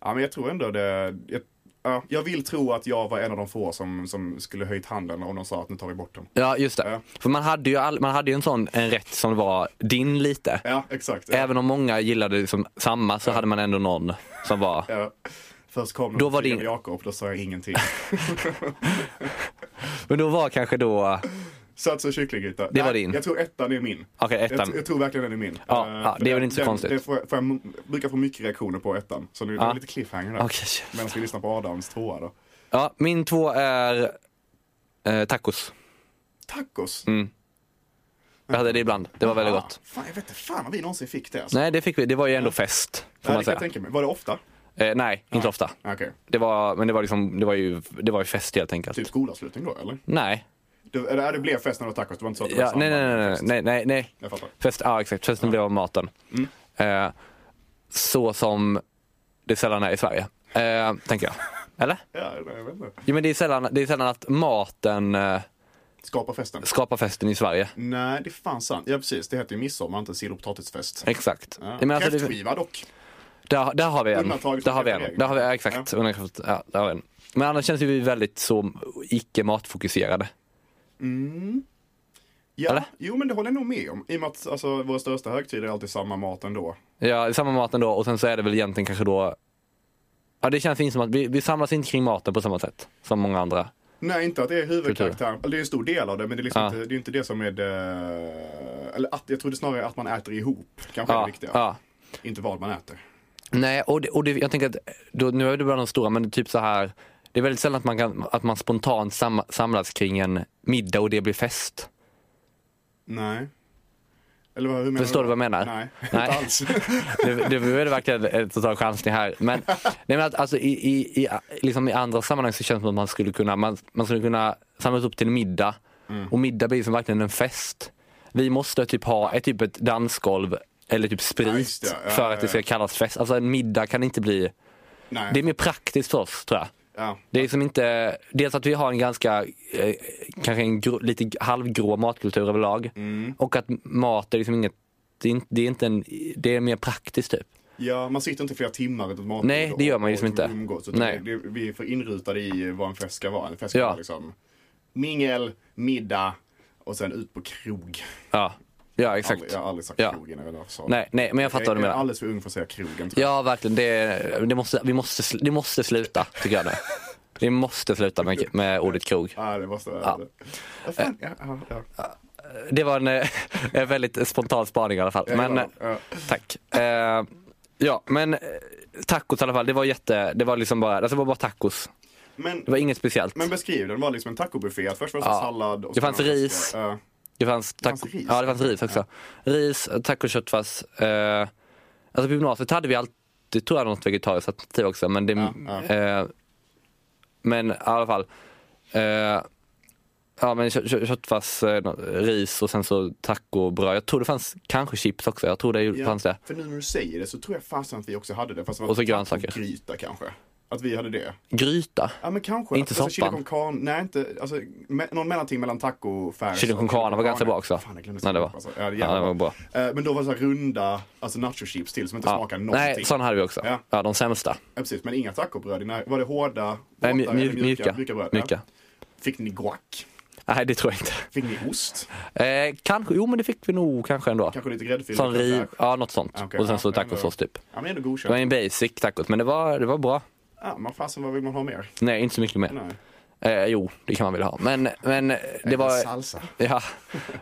Speaker 3: Ja, men jag tror ändå det. Jag, ja, jag vill tro att jag var en av de få som, som skulle höjt handen om de sa att nu tar vi bort den.
Speaker 4: Ja, just det.
Speaker 3: Ja.
Speaker 4: För man hade ju, all, man hade ju en sån en rätt som var din lite.
Speaker 3: Ja, exakt.
Speaker 4: Även om många gillade liksom samma så hade man ändå någon som var...
Speaker 3: Ja. Först kom
Speaker 4: Då
Speaker 3: någon
Speaker 4: var
Speaker 3: och din...
Speaker 4: det-
Speaker 3: Jakob, då sa jag ingenting.
Speaker 4: Men då var kanske då...
Speaker 3: Sats och kycklinggryta.
Speaker 4: Det var
Speaker 3: Nej,
Speaker 4: din.
Speaker 3: Jag tror ettan är min.
Speaker 4: Okej,
Speaker 3: Jag,
Speaker 4: ettan.
Speaker 3: tr- jag tror verkligen den är min.
Speaker 4: Ja,
Speaker 3: Eh,
Speaker 4: ja,
Speaker 3: för
Speaker 4: det är väl
Speaker 3: den-
Speaker 4: inte så
Speaker 3: den-
Speaker 4: konstigt.
Speaker 3: Det får, jag- får jag m- brukar få mycket reaktioner på ettan. Så nu det
Speaker 4: Ja.
Speaker 3: var lite cliffhanger där.
Speaker 4: Okej, shit.
Speaker 3: Medan vi lyssnar på Adams tvåa då.
Speaker 4: Ja, min två är eh, tacos.
Speaker 3: Tacos!
Speaker 4: Jag hade det ibland. Mm, Det var väldigt
Speaker 3: Ah,
Speaker 4: gott.
Speaker 3: Fan, jag vet inte fan om vi någonsin fick det. Alltså.
Speaker 4: Nej, det fick vi. Det var ju ändå fest, får
Speaker 3: Nej,
Speaker 4: man
Speaker 3: det kan jag
Speaker 4: säga.
Speaker 3: tänka mig. Var det ofta?
Speaker 4: Eh, nej, inte ofta.
Speaker 3: Okej.
Speaker 4: Det var, men det var, liksom, det var, ju, det var ju fest helt enkelt.
Speaker 3: Typ skolavslutning då eller?
Speaker 4: Nej.
Speaker 3: Du, eller det blev fest när det var tacos, det var inte så att det
Speaker 4: Ja,
Speaker 3: var
Speaker 4: nej, nej,
Speaker 3: samband med
Speaker 4: nej, nej,
Speaker 3: fest.
Speaker 4: nej, nej, nej.
Speaker 3: Jag fattar.
Speaker 4: Fest, ja, exakt. Festen blev av maten.
Speaker 3: Mm.
Speaker 4: Eh, så som det sällan är i Sverige, eh, tänker jag. Eller?
Speaker 3: Ja, nej, jag vet inte.
Speaker 4: Jo, men det är sällan, det är sällan att maten eh,
Speaker 3: Skapa festen.
Speaker 4: skapar festen i Sverige.
Speaker 3: Nej, det är fan sant. Ja, precis. Det heter ju midsommar, inte sill och potatisfest.
Speaker 4: Exakt.
Speaker 3: Ja.
Speaker 4: Nej, men alltså, det-
Speaker 3: Kräftskiva dock.
Speaker 4: Där, där har vi en.
Speaker 3: Undantaget
Speaker 4: Där
Speaker 3: från
Speaker 4: har vi en.
Speaker 3: reglerna.
Speaker 4: Där har vi, ja, exakt. Undantaget- Ja, där har vi en. Men annars känns ju vi väldigt så icke matfokuserade.
Speaker 3: Ja,
Speaker 4: Eller?
Speaker 3: jo men det håller jag nog med om. I och med att alltså, våra största högtider är alltid samma mat ändå.
Speaker 4: Ja, det är samma maten då och sen så är det väl egentligen kanske då Ja, det känns inte som att vi, vi samlas inte kring maten på samma sätt som många andra.
Speaker 3: Nej, inte att det är huvudkaraktären. Eller, Det är en stor del av det, men det är, liksom
Speaker 4: Ja.
Speaker 3: inte, det är inte det som är det... Eller att, jag tror det snarare är att man äter ihop. Kanske är det
Speaker 4: Ja,
Speaker 3: viktiga.
Speaker 4: ja.
Speaker 3: Inte vad man äter.
Speaker 4: Nej, och, det, och det, jag tänker att då, nu är det bara de stora, men det är typ så här. Det är väldigt sällan att man, kan, att man spontant sam, samlas kring en middag och det blir fest.
Speaker 3: Nej. Eller vad- hur menar
Speaker 4: Förstår du vad jag menar?
Speaker 3: Nej,
Speaker 4: Nej.
Speaker 3: inte alls.
Speaker 4: Det, det var ju verkligen en total chansning här. Men, nej men att, alltså, i, i, i, liksom i andra sammanhang så känns det som att man skulle kunna, man, man skulle kunna samlas upp till en middag.
Speaker 3: Mm.
Speaker 4: Och middag blir som verkligen en fest. Vi måste typ ha ett, typ ett dansgolv eller typ
Speaker 3: Ja,
Speaker 4: sprit
Speaker 3: just det. Ja,
Speaker 4: för
Speaker 3: ja,
Speaker 4: att det ska
Speaker 3: ja.
Speaker 4: kallas fest. Alltså en middag kan inte bli...
Speaker 3: Nej.
Speaker 4: Det är mer praktiskt för oss tror jag.
Speaker 3: Ja.
Speaker 4: Det är liksom inte, dels att vi har en ganska, eh, kanske en grå, lite halvgrå matkultur överlag.
Speaker 3: Mm.
Speaker 4: Och att mat är liksom inget, det är inte, det är, inte en, det är mer praktiskt typ.
Speaker 3: Ja, man sitter inte flera timmar utan mat.
Speaker 4: Nej, det gör man ju liksom inte.
Speaker 3: Umgås, utan
Speaker 4: Nej.
Speaker 3: Det, vi är för inrutade i vad en fest ska vara. En fest ska
Speaker 4: Ja.
Speaker 3: vara liksom mingel, middag och sen ut på krog.
Speaker 4: Ja, ja exakt.
Speaker 3: Aldrig, jag har aldrig sagt
Speaker 4: Ja.
Speaker 3: krog innan. Jag, sa det.
Speaker 4: Nej, nej, men jag fattar vad
Speaker 3: jag,
Speaker 4: du
Speaker 3: jag är
Speaker 4: menar.
Speaker 3: alldeles för ung för att säga krogen. tror jag.
Speaker 4: Ja, verkligen. Det, det, måste, vi måste, sl- det måste sluta, tycker jag nu. Vi måste sluta med, med ordet krog.
Speaker 3: Ja, det måste ja. Ja, fan, ja, ja, ja.
Speaker 4: Det var en, eh, en väldigt spontan spaning i alla fall.
Speaker 3: Ja,
Speaker 4: Men,
Speaker 3: ja,
Speaker 4: eh,
Speaker 3: ja.
Speaker 4: Tack. Eh, ja, men eh, tacos i alla fall. Det var jätte, det var liksom bara, alltså det var bara tacos.
Speaker 3: Men,
Speaker 4: Det var inget speciellt.
Speaker 3: men beskriv den, var liksom en tacobuffé. Att Först var det
Speaker 4: Ja.
Speaker 3: sallad. Och
Speaker 4: Det fanns
Speaker 3: sen var
Speaker 4: ris.
Speaker 3: Ja.
Speaker 4: Det fanns, taco,
Speaker 3: fanns ris.
Speaker 4: Ja, det fanns ris också. Ris, tacoköttfärs. Eh, alltså på gymnasiet hade vi alltid, tror jag, något vegetariskt alternativ också. Men, det,
Speaker 3: Ja, ja.
Speaker 4: Eh, men i alla fall. Eh, Ja men kö- kö- köttfärs, eh, nå- ris och sen så tacobröd. Jag tror det fanns kanske chips också. Jag tror det ju- fanns det.
Speaker 3: För nu när du säger det så tror jag fasen att vi också hade det. Fast det var
Speaker 4: Och så grönsaker.
Speaker 3: Gryta kanske. Att vi hade det.
Speaker 4: Gryta.
Speaker 3: Ja men kanske.
Speaker 4: Inte
Speaker 3: alltså, chili con
Speaker 4: soppan.
Speaker 3: carne, nej inte, alltså me- någon mellanting mellan tacofärs
Speaker 4: Chili con
Speaker 3: och
Speaker 4: carne var ganska bra också.
Speaker 3: Fan jag glömde
Speaker 4: Nej, det
Speaker 3: säga
Speaker 4: var-
Speaker 3: alltså. Ja, det,
Speaker 4: Ja, det var
Speaker 3: var
Speaker 4: bra.
Speaker 3: bra. Eh, Men då var det så här runda, alltså nachochips till som inte
Speaker 4: Ja.
Speaker 3: smakade någonting.
Speaker 4: Nej, sådana hade vi också. Ja.
Speaker 3: Ja.
Speaker 4: de sämsta.
Speaker 3: Ja, precis, men inga tacobröd. i när- Var det hårda,
Speaker 4: Nej, mj-
Speaker 3: våta eller
Speaker 4: mj- mjuka.
Speaker 3: mjuka bröd? Ja.
Speaker 4: Mjuka.
Speaker 3: Fick ni guac?
Speaker 4: Nej, det tror jag inte.
Speaker 3: Fick ni ost?
Speaker 4: Eh, kanske, jo men det fick vi nog kanske ändå.
Speaker 3: Kanske lite gräddfil?
Speaker 4: Sån
Speaker 3: lite
Speaker 4: riv,
Speaker 3: fräsch.
Speaker 4: ja något sånt.
Speaker 3: Ja, okej.
Speaker 4: Och sen
Speaker 3: Ja,
Speaker 4: så
Speaker 3: men ändå-
Speaker 4: tacosås typ.
Speaker 3: Ja men ändå
Speaker 4: Det var
Speaker 3: godkänt.
Speaker 4: en basic tacos, men det var, det var bra.
Speaker 3: Ja men fasen vad vill man ha mer?
Speaker 4: Nej, inte så mycket mer.
Speaker 3: Nej.
Speaker 4: Eh, jo, det kan man väl ha. Men, men det var...
Speaker 3: Salsa.
Speaker 4: Ja,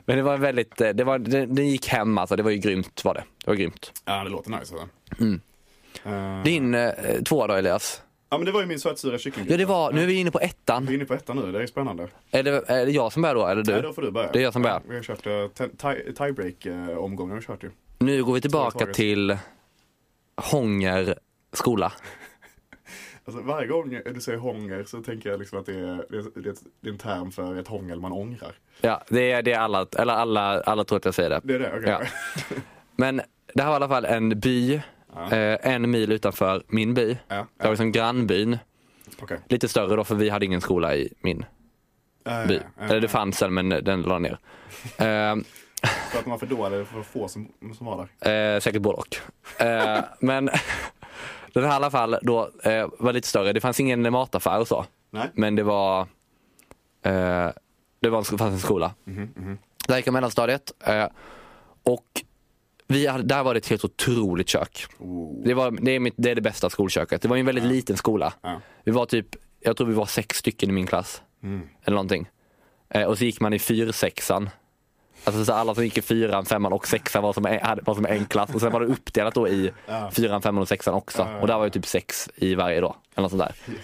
Speaker 4: men det var en väldigt... eh, Det, var, det, det gick hem alltså. Det var ju grymt var det. Det var grymt.
Speaker 3: Ja det låter nice. alltså.
Speaker 4: Mm.
Speaker 3: Eh,
Speaker 4: Din eh, tvåa då Elias?
Speaker 3: Ja men det var ju min sötsura kycklinggryta.
Speaker 4: Ja, det var... Nu är vi inne på
Speaker 3: Vi
Speaker 4: ettan.
Speaker 3: är inne på ettan nu, det är spännande.
Speaker 4: Är det, är det jag som börjar då, eller
Speaker 3: Nej,
Speaker 4: du?
Speaker 3: då får du börja.
Speaker 4: Det är jag som börjar.
Speaker 3: Vi har kört eh, te- tie- tiebreak-omgången har vi kört ju.
Speaker 4: Nu går vi
Speaker 3: Två
Speaker 4: tillbaka
Speaker 3: taget.
Speaker 4: till Hånger skola.
Speaker 3: Alltså, varje gång du säger hånger så tänker jag liksom att det är, det, är- det, är ett- det är en term för ett hångel man ångrar.
Speaker 4: Ja, det är det är alla, eller alla, alla tror att jag säger det.
Speaker 3: Det är det, okej.
Speaker 4: Ja. Men det här var i alla fall en by, eh, en mil utanför min by.
Speaker 3: Ja, ja.
Speaker 4: Det var liksom grannbyn.
Speaker 3: Okej.
Speaker 4: Lite större då, för vi hade ingen skola i min
Speaker 3: Eh,
Speaker 4: by.
Speaker 3: eh,
Speaker 4: Eller det fanns en, men den la ner. Eh,
Speaker 3: För att man var för då eller för få som, som var där.
Speaker 4: Eh, säkert både och. Eh, men den här i alla fall då eh, var lite större. Det fanns ingen mataffär och så.
Speaker 3: Nej.
Speaker 4: Men det var eh, det var en, sk- fanns en skola.
Speaker 3: Mhm,
Speaker 4: Där gick jag mellanstadiet. Eh, och vi hade, där var det ett helt otroligt kök.
Speaker 3: Oh.
Speaker 4: Det, var, det, är mitt, det är det bästa skolköket. Det var ju en väldigt liten skola.
Speaker 3: Ja.
Speaker 4: Vi var typ, jag tror vi var sex stycken i min klass.
Speaker 3: Mm.
Speaker 4: Eller någonting. Eh, och så gick man i fyrsexan. Alltså så alla som gick i fyran, femman och sexan var som, en- hade- var som en klass. Och sen var det uppdelat då i fyran, femman och sexan också. Och där var ju typ sex i varje då. Eller något sånt där.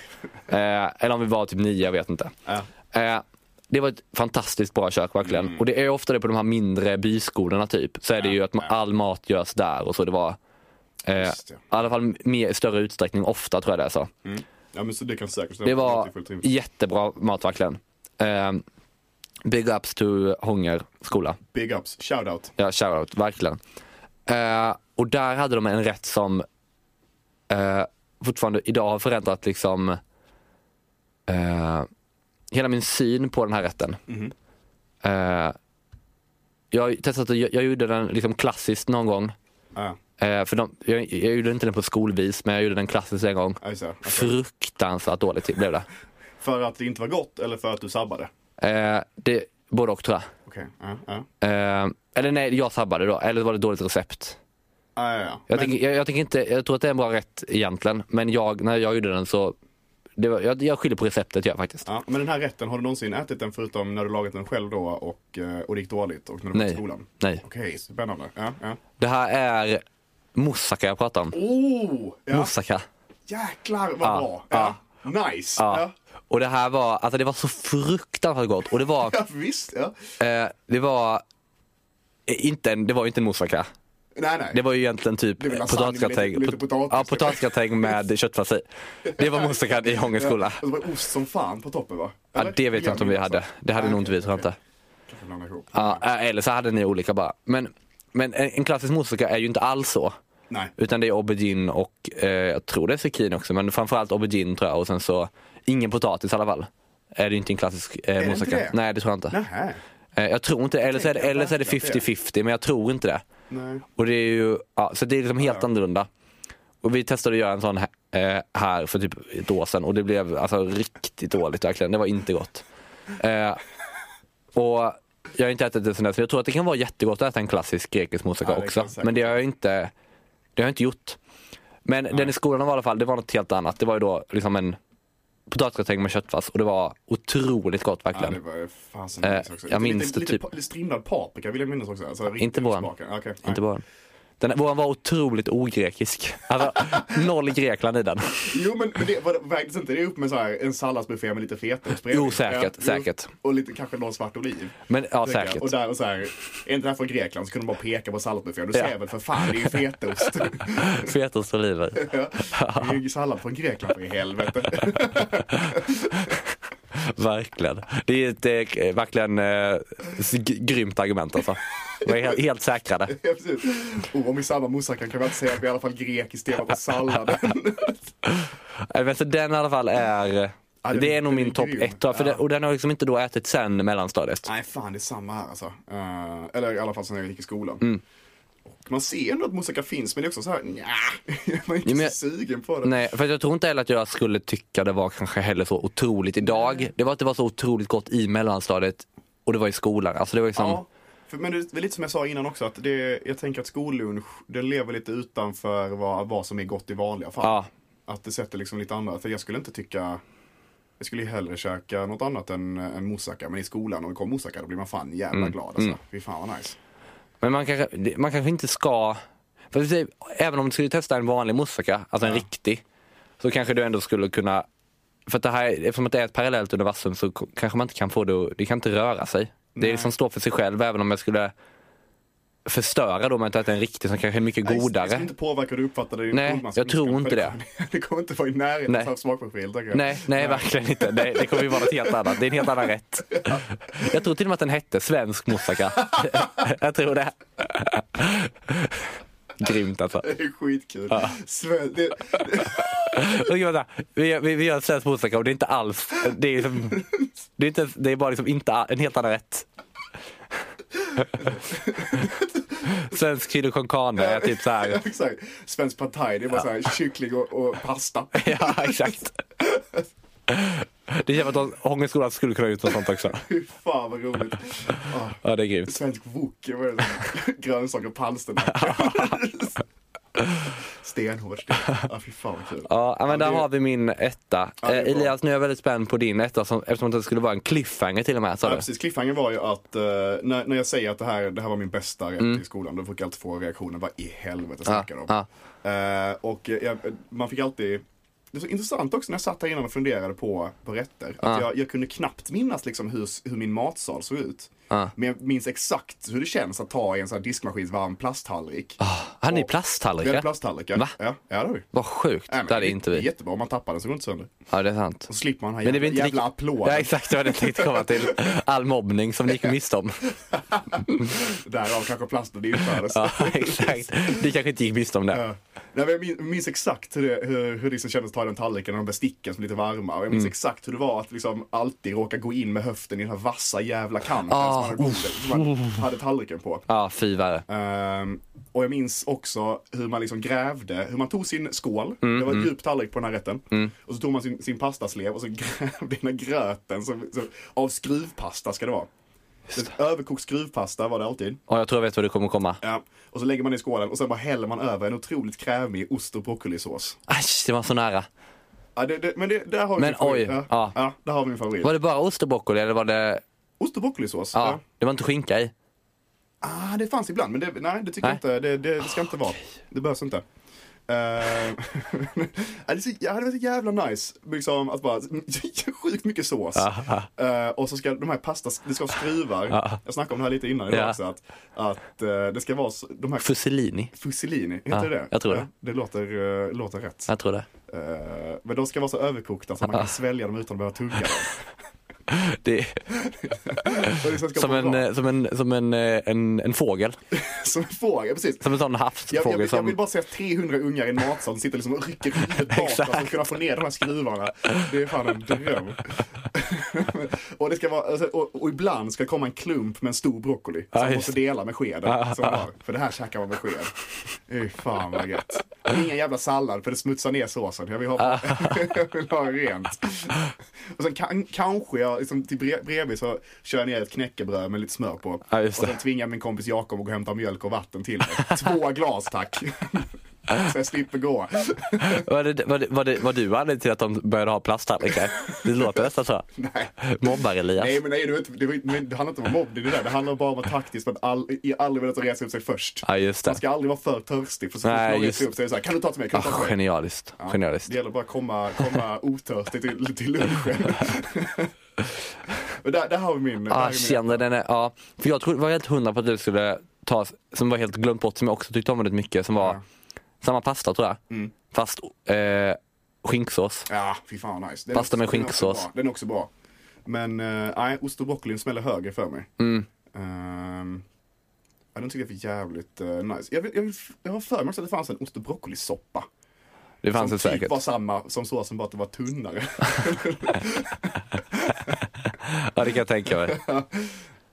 Speaker 4: Eh, eller om vi var typ nio, jag vet inte.
Speaker 3: Ja.
Speaker 4: Eh, det var ett fantastiskt bra kök verkligen.
Speaker 3: Mm.
Speaker 4: Och det är ofta det på de här mindre byskolorna typ. Så är det ju att man, all mat görs där och så. Det var eh, i
Speaker 3: Just det.
Speaker 4: alla fall mer, i större utsträckning ofta tror jag det är så.
Speaker 3: ja, men så det kan säkert stämma.
Speaker 4: Det var
Speaker 3: är fullt rimligt.
Speaker 4: jättebra mat verkligen. Eh, big ups to Hånger skola.
Speaker 3: Big ups, shoutout.
Speaker 4: Ja, shoutout, verkligen. Eh, och där hade de en rätt som eh, fortfarande idag har förändrat liksom eh, hela min syn på den här rätten.
Speaker 3: Mhm.
Speaker 4: Eh, jag har ju testat att- jag, jag gjorde den liksom klassiskt någon gång.
Speaker 3: Ja,
Speaker 4: Eh, för de, jag, jag gjorde inte den på skolvis, men jag gjorde den klassiskt en gång.
Speaker 3: ja, just det. Okej.
Speaker 4: Fruktansvärt dåligt blev det.
Speaker 3: För att det inte var gott eller för att du sabbade?
Speaker 4: Eh, det, både och tror jag.
Speaker 3: Okej, ja, ja.
Speaker 4: Eh, eller nej, jag sabbade då. Eller var det dåligt recept?
Speaker 3: Ja, ja, ja.
Speaker 4: Jag,
Speaker 3: Men-
Speaker 4: tänker, jag, jag, tänker inte, jag tror att det är en bra rätt egentligen. Men jag, när jag gjorde den så, det var, jag, jag skyller på receptet jag faktiskt.
Speaker 3: Ja, men den här rätten, har du någonsin ätit den förutom när du lagat den själv då och, eh, och det gick dåligt och när du var
Speaker 4: Nej.
Speaker 3: i skolan?
Speaker 4: Nej.
Speaker 3: Okej, spännande. Ja, ja.
Speaker 4: Det här är moussaka jag pratar om.
Speaker 3: Oh! Ja.
Speaker 4: Moussaka.
Speaker 3: Jäklar vad bra! Ja. Nice!
Speaker 4: Ja.
Speaker 3: Ja.
Speaker 4: Och det här var, alltså det var så fruktansvärt gott. Och det var,
Speaker 3: Ja, visst. Ja.
Speaker 4: eh, det var, eh, inte en, det var ju inte en moussaka.
Speaker 3: Nej, nej.
Speaker 4: Det var ju egentligen typ
Speaker 3: Det är väl lasagne med lite-
Speaker 4: potatisgratäng.
Speaker 3: lite potatis.
Speaker 4: Ja, potatisgratäng med köttfärs i. Det var moussakan i Hångens skola.
Speaker 3: Och så var det ost som fan på toppen va?
Speaker 4: Ja, det vet jag inte om vi hade. Det hade nog inte vi, tror jag inte.
Speaker 3: inte.
Speaker 4: Ja, äh, eller så hade ni olika bara. Men, men en en klassisk moussaka är ju inte alls så.
Speaker 3: Nej.
Speaker 4: Utan det är aubergine och eh, jag tror det är zucchini också, men framförallt aubergine tror jag. Och sen så, ingen potatis i alla fall. Är det inte en klassisk eh,
Speaker 3: det inte
Speaker 4: moussaka?
Speaker 3: det?
Speaker 4: Nej, det tror jag inte.
Speaker 3: Nähä.
Speaker 4: Eh, jag tror inte det. Eller så är det,
Speaker 3: Tänker jag
Speaker 4: eller så är det
Speaker 3: verkligen att det
Speaker 4: 50-50, men jag tror inte det.
Speaker 3: Nej.
Speaker 4: Och det är ju, ja, så det är liksom helt annorlunda. Och vi testade att göra en sån här, eh, här för typ ett år sedan och det blev alltså riktigt dåligt verkligen. Det var inte gott. Eh, och jag har inte ätit det sen dess, men jag tror att det kan vara jättegott att äta en klassisk grekisk moussaka
Speaker 3: Ja, det
Speaker 4: också.
Speaker 3: kan säkert
Speaker 4: Men det har jag inte, det har jag inte gjort. Men den i skolan var i alla fall, det var något helt annat. Det var ju då liksom en potatisgratäng med köttfärs och det var otroligt gott
Speaker 3: Ja,
Speaker 4: verkligen.
Speaker 3: det var fasen
Speaker 4: Eh,
Speaker 3: nice också.
Speaker 4: jag minns
Speaker 3: lite,
Speaker 4: det
Speaker 3: lite,
Speaker 4: typ.
Speaker 3: pa- Lite strimlad paprika vill jag minnas också. Alltså, riktigt
Speaker 4: inte våran.
Speaker 3: smaken. Ja, Okej.
Speaker 4: inte
Speaker 3: Nej.
Speaker 4: bara. Den, våran var otroligt ogrekisk. Alltså, noll Grekland i den.
Speaker 3: Jo men men det, var, vägdes inte det upp med så här, en salladsbuffé med lite fetaost bredvid?
Speaker 4: Jo, säkert,
Speaker 3: Ja,
Speaker 4: säkert.
Speaker 3: Och lite, kanske någon svart oliv.
Speaker 4: Men ja,
Speaker 3: tänker jag.
Speaker 4: säkert.
Speaker 3: Och där och så här, är inte det här från Grekland så kunde de bara peka på salladsbuffén. Du
Speaker 4: Ja.
Speaker 3: ser väl för fan, det är ju fetaost.
Speaker 4: Fetaste oliver.
Speaker 3: Ja. Det är ju sallad från Grekland för i helvete.
Speaker 4: verkligen. Det är ett eh, verkligen eh, s- g- grymt argument alltså. Vi är helt, helt säkrade.
Speaker 3: Ja, precis. Oh, om vi samma moussaka kan vi inte säga att vi i alla fall grekiskt delar på salladen.
Speaker 4: Eh, Men så den i alla fall är, eh,
Speaker 3: Ja, den-
Speaker 4: det är nog
Speaker 3: den
Speaker 4: min
Speaker 3: är
Speaker 4: topp
Speaker 3: grym.
Speaker 4: ett. då, För
Speaker 3: Ja.
Speaker 4: den, och den har jag liksom inte då ätit sen mellanstadiet.
Speaker 3: Nej, fan det är samma här alltså. Eh, eller i alla fall sen jag gick i skolan.
Speaker 4: Mm.
Speaker 3: Och man ser ändå att moussaka finns, men det är också så här, nja, man är inte
Speaker 4: Jo, men-
Speaker 3: så sugen på det.
Speaker 4: Nej, för jag tror inte heller att jag skulle tycka det var kanske heller så otroligt idag. Det var att det var så otroligt gott i mellanstadiet och det var i skolan. Alltså det var liksom,
Speaker 3: Ja, för, men det är lite som jag sa innan också, att det, jag tänker att skollunch, den lever lite utanför vad, vad som är gott i vanliga fall.
Speaker 4: ja.
Speaker 3: Att det sätter liksom lite annat, för jag skulle inte tycka jag skulle ju hellre käka något annat än, än moussaka, men i skolan om det kom moussaka då blir man fan jävla
Speaker 4: Mm.
Speaker 3: glad alltså. Fy fan vad nice.
Speaker 4: Men man kanske, det- man kanske inte ska... För att säga, även om du skulle testa en vanlig moussaka, alltså en riktig, så kanske du ändå skulle kunna... För att det här, eftersom att det är ett parallellt universum så k- kanske man inte kan få det att- Det kan inte röra sig. Det är liksom står för sig själv, även om jag skulle förstöra då med att äta en riktig som kanske är mycket
Speaker 3: Nej, Det
Speaker 4: godare.
Speaker 3: skulle inte påverka hur du uppfattar det. i
Speaker 4: Nej,
Speaker 3: skolmask-
Speaker 4: jag tror inte det.
Speaker 3: Det kommer inte vara i närheten
Speaker 4: Nej.
Speaker 3: av smakprofil. tänker jag.
Speaker 4: Nej, nej verkligen inte. Det, det kommer ju vara något helt annat. Det är en helt annan rätt. Jag tror till och med att den hette svensk moussaka. Jag tror det. Grymt alltså.
Speaker 3: Det är skitkul. Sven, det,
Speaker 4: Och jag bara, vi, vi, vi gör en svensk moussaka och det är inte alls, det är, liksom, det är, inte, ens- det är bara liksom inte, a- en helt annan rätt. Svensk chili con carne är typ så här.
Speaker 3: exakt. Svensk pad thai, det är bara så här kyckling och, och pasta.
Speaker 4: Ja, exakt. Det känns som att Hångeskolan skulle kunna ut något sånt också.
Speaker 3: Fy fan vad roligt. Ah,
Speaker 4: Ja, det är grymt.
Speaker 3: svensk wok, vad är det? grönsaker och palsternacka. Stenhård sten. Ah, fy fan vad kul.
Speaker 4: Ja, men där
Speaker 3: det-
Speaker 4: har vi min etta.
Speaker 3: Ja, det är
Speaker 4: Eh,
Speaker 3: bra.
Speaker 4: Elias, nu är jag väldigt spänd på din etta som, eftersom att det skulle vara en cliffhanger till och med. Sa
Speaker 3: Ja,
Speaker 4: du?
Speaker 3: precis. Cliffhanger var ju att eh, när, när jag säger att det här, det här var min bästa rätt i skolan, då fick jag alltid få reaktionen, vad i helvete
Speaker 4: Mm. Ja,
Speaker 3: snackar de om?
Speaker 4: ja.
Speaker 3: Eh, och eh, jag, man fick alltid, det är så intressant också när jag satt här innan och funderade på, på rätter,
Speaker 4: Ja.
Speaker 3: att jag, jag kunde knappt minnas liksom hur, s- hur min matsal såg ut.
Speaker 4: Ja.
Speaker 3: Men jag minns exakt hur det känns att ta i en sån här diskmaskinsvarm plasttallrik.
Speaker 4: Hade ni
Speaker 3: Och- Vi
Speaker 4: plasttallrikar?
Speaker 3: hade plasttallrikar.
Speaker 4: Va?
Speaker 3: Ja, ja, det har vi.
Speaker 4: Vad sjukt.
Speaker 3: Nej, men
Speaker 4: det hade inte
Speaker 3: det är
Speaker 4: vi.
Speaker 3: Jättebra, om man tappar den så går det inte sönder.
Speaker 4: Ja, det är sant.
Speaker 3: Och så slipper man den här
Speaker 4: Men det
Speaker 3: jävla,
Speaker 4: blir inte
Speaker 3: jävla
Speaker 4: lika- Ja,
Speaker 3: applåden.
Speaker 4: exakt. Det var det jag tänkte komma till. All mobbning som ni gick miste om.
Speaker 3: Därav kanske plasten infördes.
Speaker 4: Ja, exakt. Ni kanske inte gick miste om det.
Speaker 3: Ja. Nej, men jag min- minns exakt hur det, hur, hur det liksom kändes att ta i den tallriken och de besticken som är lite varma. Och jag
Speaker 4: Mm.
Speaker 3: minns exakt hur det var att liksom alltid råka gå in med höften i den här vassa jävla kanten
Speaker 4: Ah,
Speaker 3: som, man hade, som man hade tallriken på.
Speaker 4: Ja, fy vad är det.
Speaker 3: Ehm, och jag minns också hur man liksom grävde, hur man tog sin skål,
Speaker 4: Mm,
Speaker 3: det var en djup tallrik på den här rätten. Och så tog man sin, sin pastaslev och så grävde den här gröten som, som, av skruvpasta ska det vara. Överkokt skruvpasta var det alltid.
Speaker 4: Och jag tror jag vet var du kommer komma.
Speaker 3: Ja. Och så lägger man det i skålen och sen bara häller man över en otroligt krämig ost och broccolisås.
Speaker 4: Aj, det var så nära.
Speaker 3: Ja, det, det, men det, där har vi
Speaker 4: Men
Speaker 3: min favorit.
Speaker 4: oj,
Speaker 3: ja.
Speaker 4: ja.
Speaker 3: Ja. där har vi min favorit.
Speaker 4: Var det bara ost och broccoli eller var det...
Speaker 3: Ost och broccolisås?
Speaker 4: Ja, det var inte skinka i.
Speaker 3: Ah, det fanns ibland, men det, nej, det tycker
Speaker 4: Nej.
Speaker 3: jag inte. Det, det, det ska inte vara. Det behövs inte. Uh, det är så, ja, det var så jävla nice, liksom, att bara, sjukt mycket sås. Eh, och så ska de här pasta, det ska vara skruvar. Jag snackade om det här lite innan idag
Speaker 4: Ja.
Speaker 3: också, att, att eh, det ska vara så- de här
Speaker 4: Fusilini.
Speaker 3: fusilini, heter
Speaker 4: Ja,
Speaker 3: det det?
Speaker 4: jag tror det.
Speaker 3: Ja, det låter, eh, låter rätt.
Speaker 4: Jag tror det.
Speaker 3: Eh, men de ska vara så överkokta så man kan svälja dem utan att behöva tugga dem.
Speaker 4: det
Speaker 3: Och det ska
Speaker 4: som,
Speaker 3: vara
Speaker 4: en,
Speaker 3: bra.
Speaker 4: eh, som, en, som en, eh, en, en fågel.
Speaker 3: Som en fågel, precis.
Speaker 4: Som en sån
Speaker 3: Jag, jag,
Speaker 4: havsfågel
Speaker 3: vill- jag vill
Speaker 4: som...
Speaker 3: bara se att 300 ungar i en matsal sitter liksom och rycker huvudet bakåt för att kunna få ner de här skruvarna. Det är fan en dröm. och, det ska vara, alltså, och, och ibland ska det komma en klump med en stor broccoli
Speaker 4: Ja,
Speaker 3: som man
Speaker 4: just
Speaker 3: måste dela med skeden. som man har. För det här käkar man med sked. Fy fan vad gött. Ingen jävla sallad för det smutsar ner såsen. Jag vill
Speaker 4: Ah.
Speaker 3: ha, jag vill ha rent. Och sen kan, kanske jag liksom, till bre- bredvid så kör jag ner ett knäckebröd med lite smör på.
Speaker 4: Ja,
Speaker 3: och
Speaker 4: just det.
Speaker 3: sen tvingar min kompis Jakob att gå och hämta mjölk och vatten till mig. Två glas tack. Så jag slipper gå.
Speaker 4: Var det, var, det, var, det, var du anledningen till att de började ha plasttallrikar? Det låter nästan så.
Speaker 3: Nej.
Speaker 4: Mobbar-Elias.
Speaker 3: Nej men nej, det, var inte, det, var, men det handlar inte om mobbning det där. Det handlar bara om att taktiskt, att all, i aldrig velat resa upp sig först.
Speaker 4: Ja, just det.
Speaker 3: Man ska aldrig vara för törstig för så fort
Speaker 4: Nej,
Speaker 3: någon
Speaker 4: just-
Speaker 3: reser upp sig är det så här, kan du ta till mig? Kan
Speaker 4: Ah,
Speaker 3: du ta till mig?
Speaker 4: genialiskt. Genialiskt.
Speaker 3: Det gäller bara att komma, komma otörstig till, till lunchen. Men där, där har vi min. där
Speaker 4: Ah,
Speaker 3: är min
Speaker 4: känner den är, ja. För jag trodde, var helt hundra på att du skulle ta, som var helt glömt bort, som jag också tyckte om väldigt mycket, som var
Speaker 3: Ja. Mm.
Speaker 4: samma pasta tror jag. Fast eh, skinksås.
Speaker 3: Ja, fy fan vad nice. Den är
Speaker 4: Pasta med
Speaker 3: också- den är också
Speaker 4: skinksås.
Speaker 3: bra. Den är också bra. Men eh, nej, ost och broccolin smäller högre för mig.
Speaker 4: Mm.
Speaker 3: Ehm, ja, den tycker jag är för jävligt eh, nice. Jag, vill, jag, vill, jag har för mig också att det fanns en ost och broccolisoppa.
Speaker 4: Det fanns
Speaker 3: som
Speaker 4: det
Speaker 3: typ
Speaker 4: säkert.
Speaker 3: var samma som såsen, bara att det var tunnare.
Speaker 4: Ja, det kan jag tänka mig.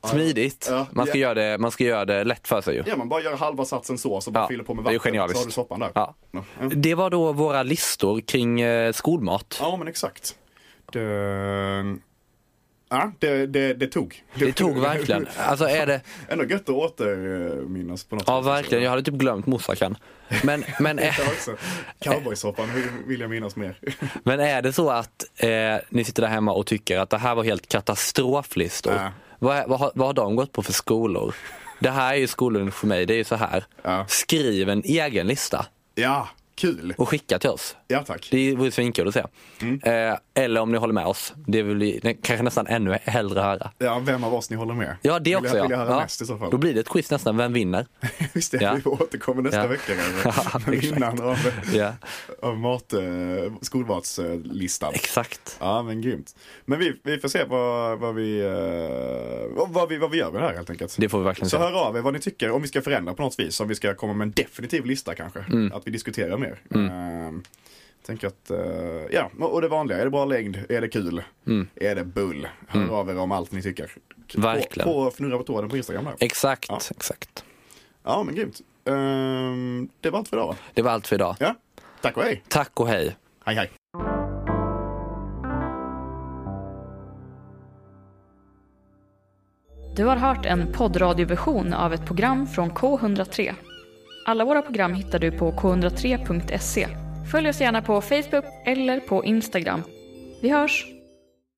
Speaker 4: Smidigt.
Speaker 3: Ja,
Speaker 4: Man ska,
Speaker 3: ja.
Speaker 4: göra det, man ska göra det lätt för sig ju.
Speaker 3: ja, man bara gör halva satsen sås och bara
Speaker 4: Ja,
Speaker 3: fyller på med
Speaker 4: det är ju
Speaker 3: vatten. så
Speaker 4: genialiskt.
Speaker 3: har du soppan där.
Speaker 4: Ja.
Speaker 3: Ja,
Speaker 4: Det var då våra listor kring eh, skolmat.
Speaker 3: Ja, men exakt. Det, ja, det, det, det tog.
Speaker 4: Det tog verkligen. Alltså är det,
Speaker 3: Ändå gött att återminnas på något
Speaker 4: ja verkligen, jag hade typ glömt moussaka'n. Men, men, är,
Speaker 3: Jag också. Cowboysoppan hur vill jag minnas mer.
Speaker 4: men är det så att eh, ni sitter där hemma och tycker att det här var helt katastroflistor.
Speaker 3: Ja.
Speaker 4: Vad, är- vad, har, vad har de gått på för skolor? Det här är ju skollunch för mig, det är ju så här.
Speaker 3: Ja.
Speaker 4: Skriv en egen lista
Speaker 3: Ja, kul.
Speaker 4: och skicka till oss.
Speaker 3: Ja, tack.
Speaker 4: Det vore svinkul att se.
Speaker 3: Mm.
Speaker 4: Eh, eller om ni håller med oss. Det vill vi det kanske nästan ännu hellre höra.
Speaker 3: Ja, vem av oss ni håller med?
Speaker 4: Ja, det
Speaker 3: vill
Speaker 4: också.
Speaker 3: jag, vill jag
Speaker 4: ja.
Speaker 3: höra
Speaker 4: ja.
Speaker 3: mest i så fall.
Speaker 4: Då blir det ett quiz nästan, vem vinner?
Speaker 3: Just det,
Speaker 4: Ja.
Speaker 3: vi återkommer nästa
Speaker 4: Ja.
Speaker 3: vecka
Speaker 4: Ja,
Speaker 3: kanske. Med
Speaker 4: exakt.
Speaker 3: vinnaren av,
Speaker 4: Ja,
Speaker 3: av mat, eh, skolmatslistan.
Speaker 4: exakt.
Speaker 3: Ja men grymt. Men vi, vi får se vad, vad, vi, eh, vad- vad, vi, vad vi gör med det här helt enkelt.
Speaker 4: Det får vi verkligen
Speaker 3: Så
Speaker 4: se.
Speaker 3: hör av er vad ni tycker, om vi ska förändra på något vis, om vi ska komma med en definitiv lista kanske.
Speaker 4: Mm.
Speaker 3: Att vi diskuterar mer. Ehm, tänker att, eh, ja, och det vanliga, är det bra längd, är det kul,
Speaker 4: Mm.
Speaker 3: är det bull? Hör av er om allt ni tycker. På-
Speaker 4: Verkligen.
Speaker 3: På Fnurra på tråden på Instagram där.
Speaker 4: Exakt,
Speaker 3: Ja.
Speaker 4: exakt.
Speaker 3: Ja men grymt. Ehm, det var allt för idag va?
Speaker 4: Det var allt för idag.
Speaker 3: Ja, tack och hej.
Speaker 4: Tack och hej.
Speaker 3: Hej hej.
Speaker 1: Du har hört en poddradioversion av ett program från K103. Alla våra program hittar du på k103.se. Följ oss gärna på Facebook eller på Instagram. Vi hörs!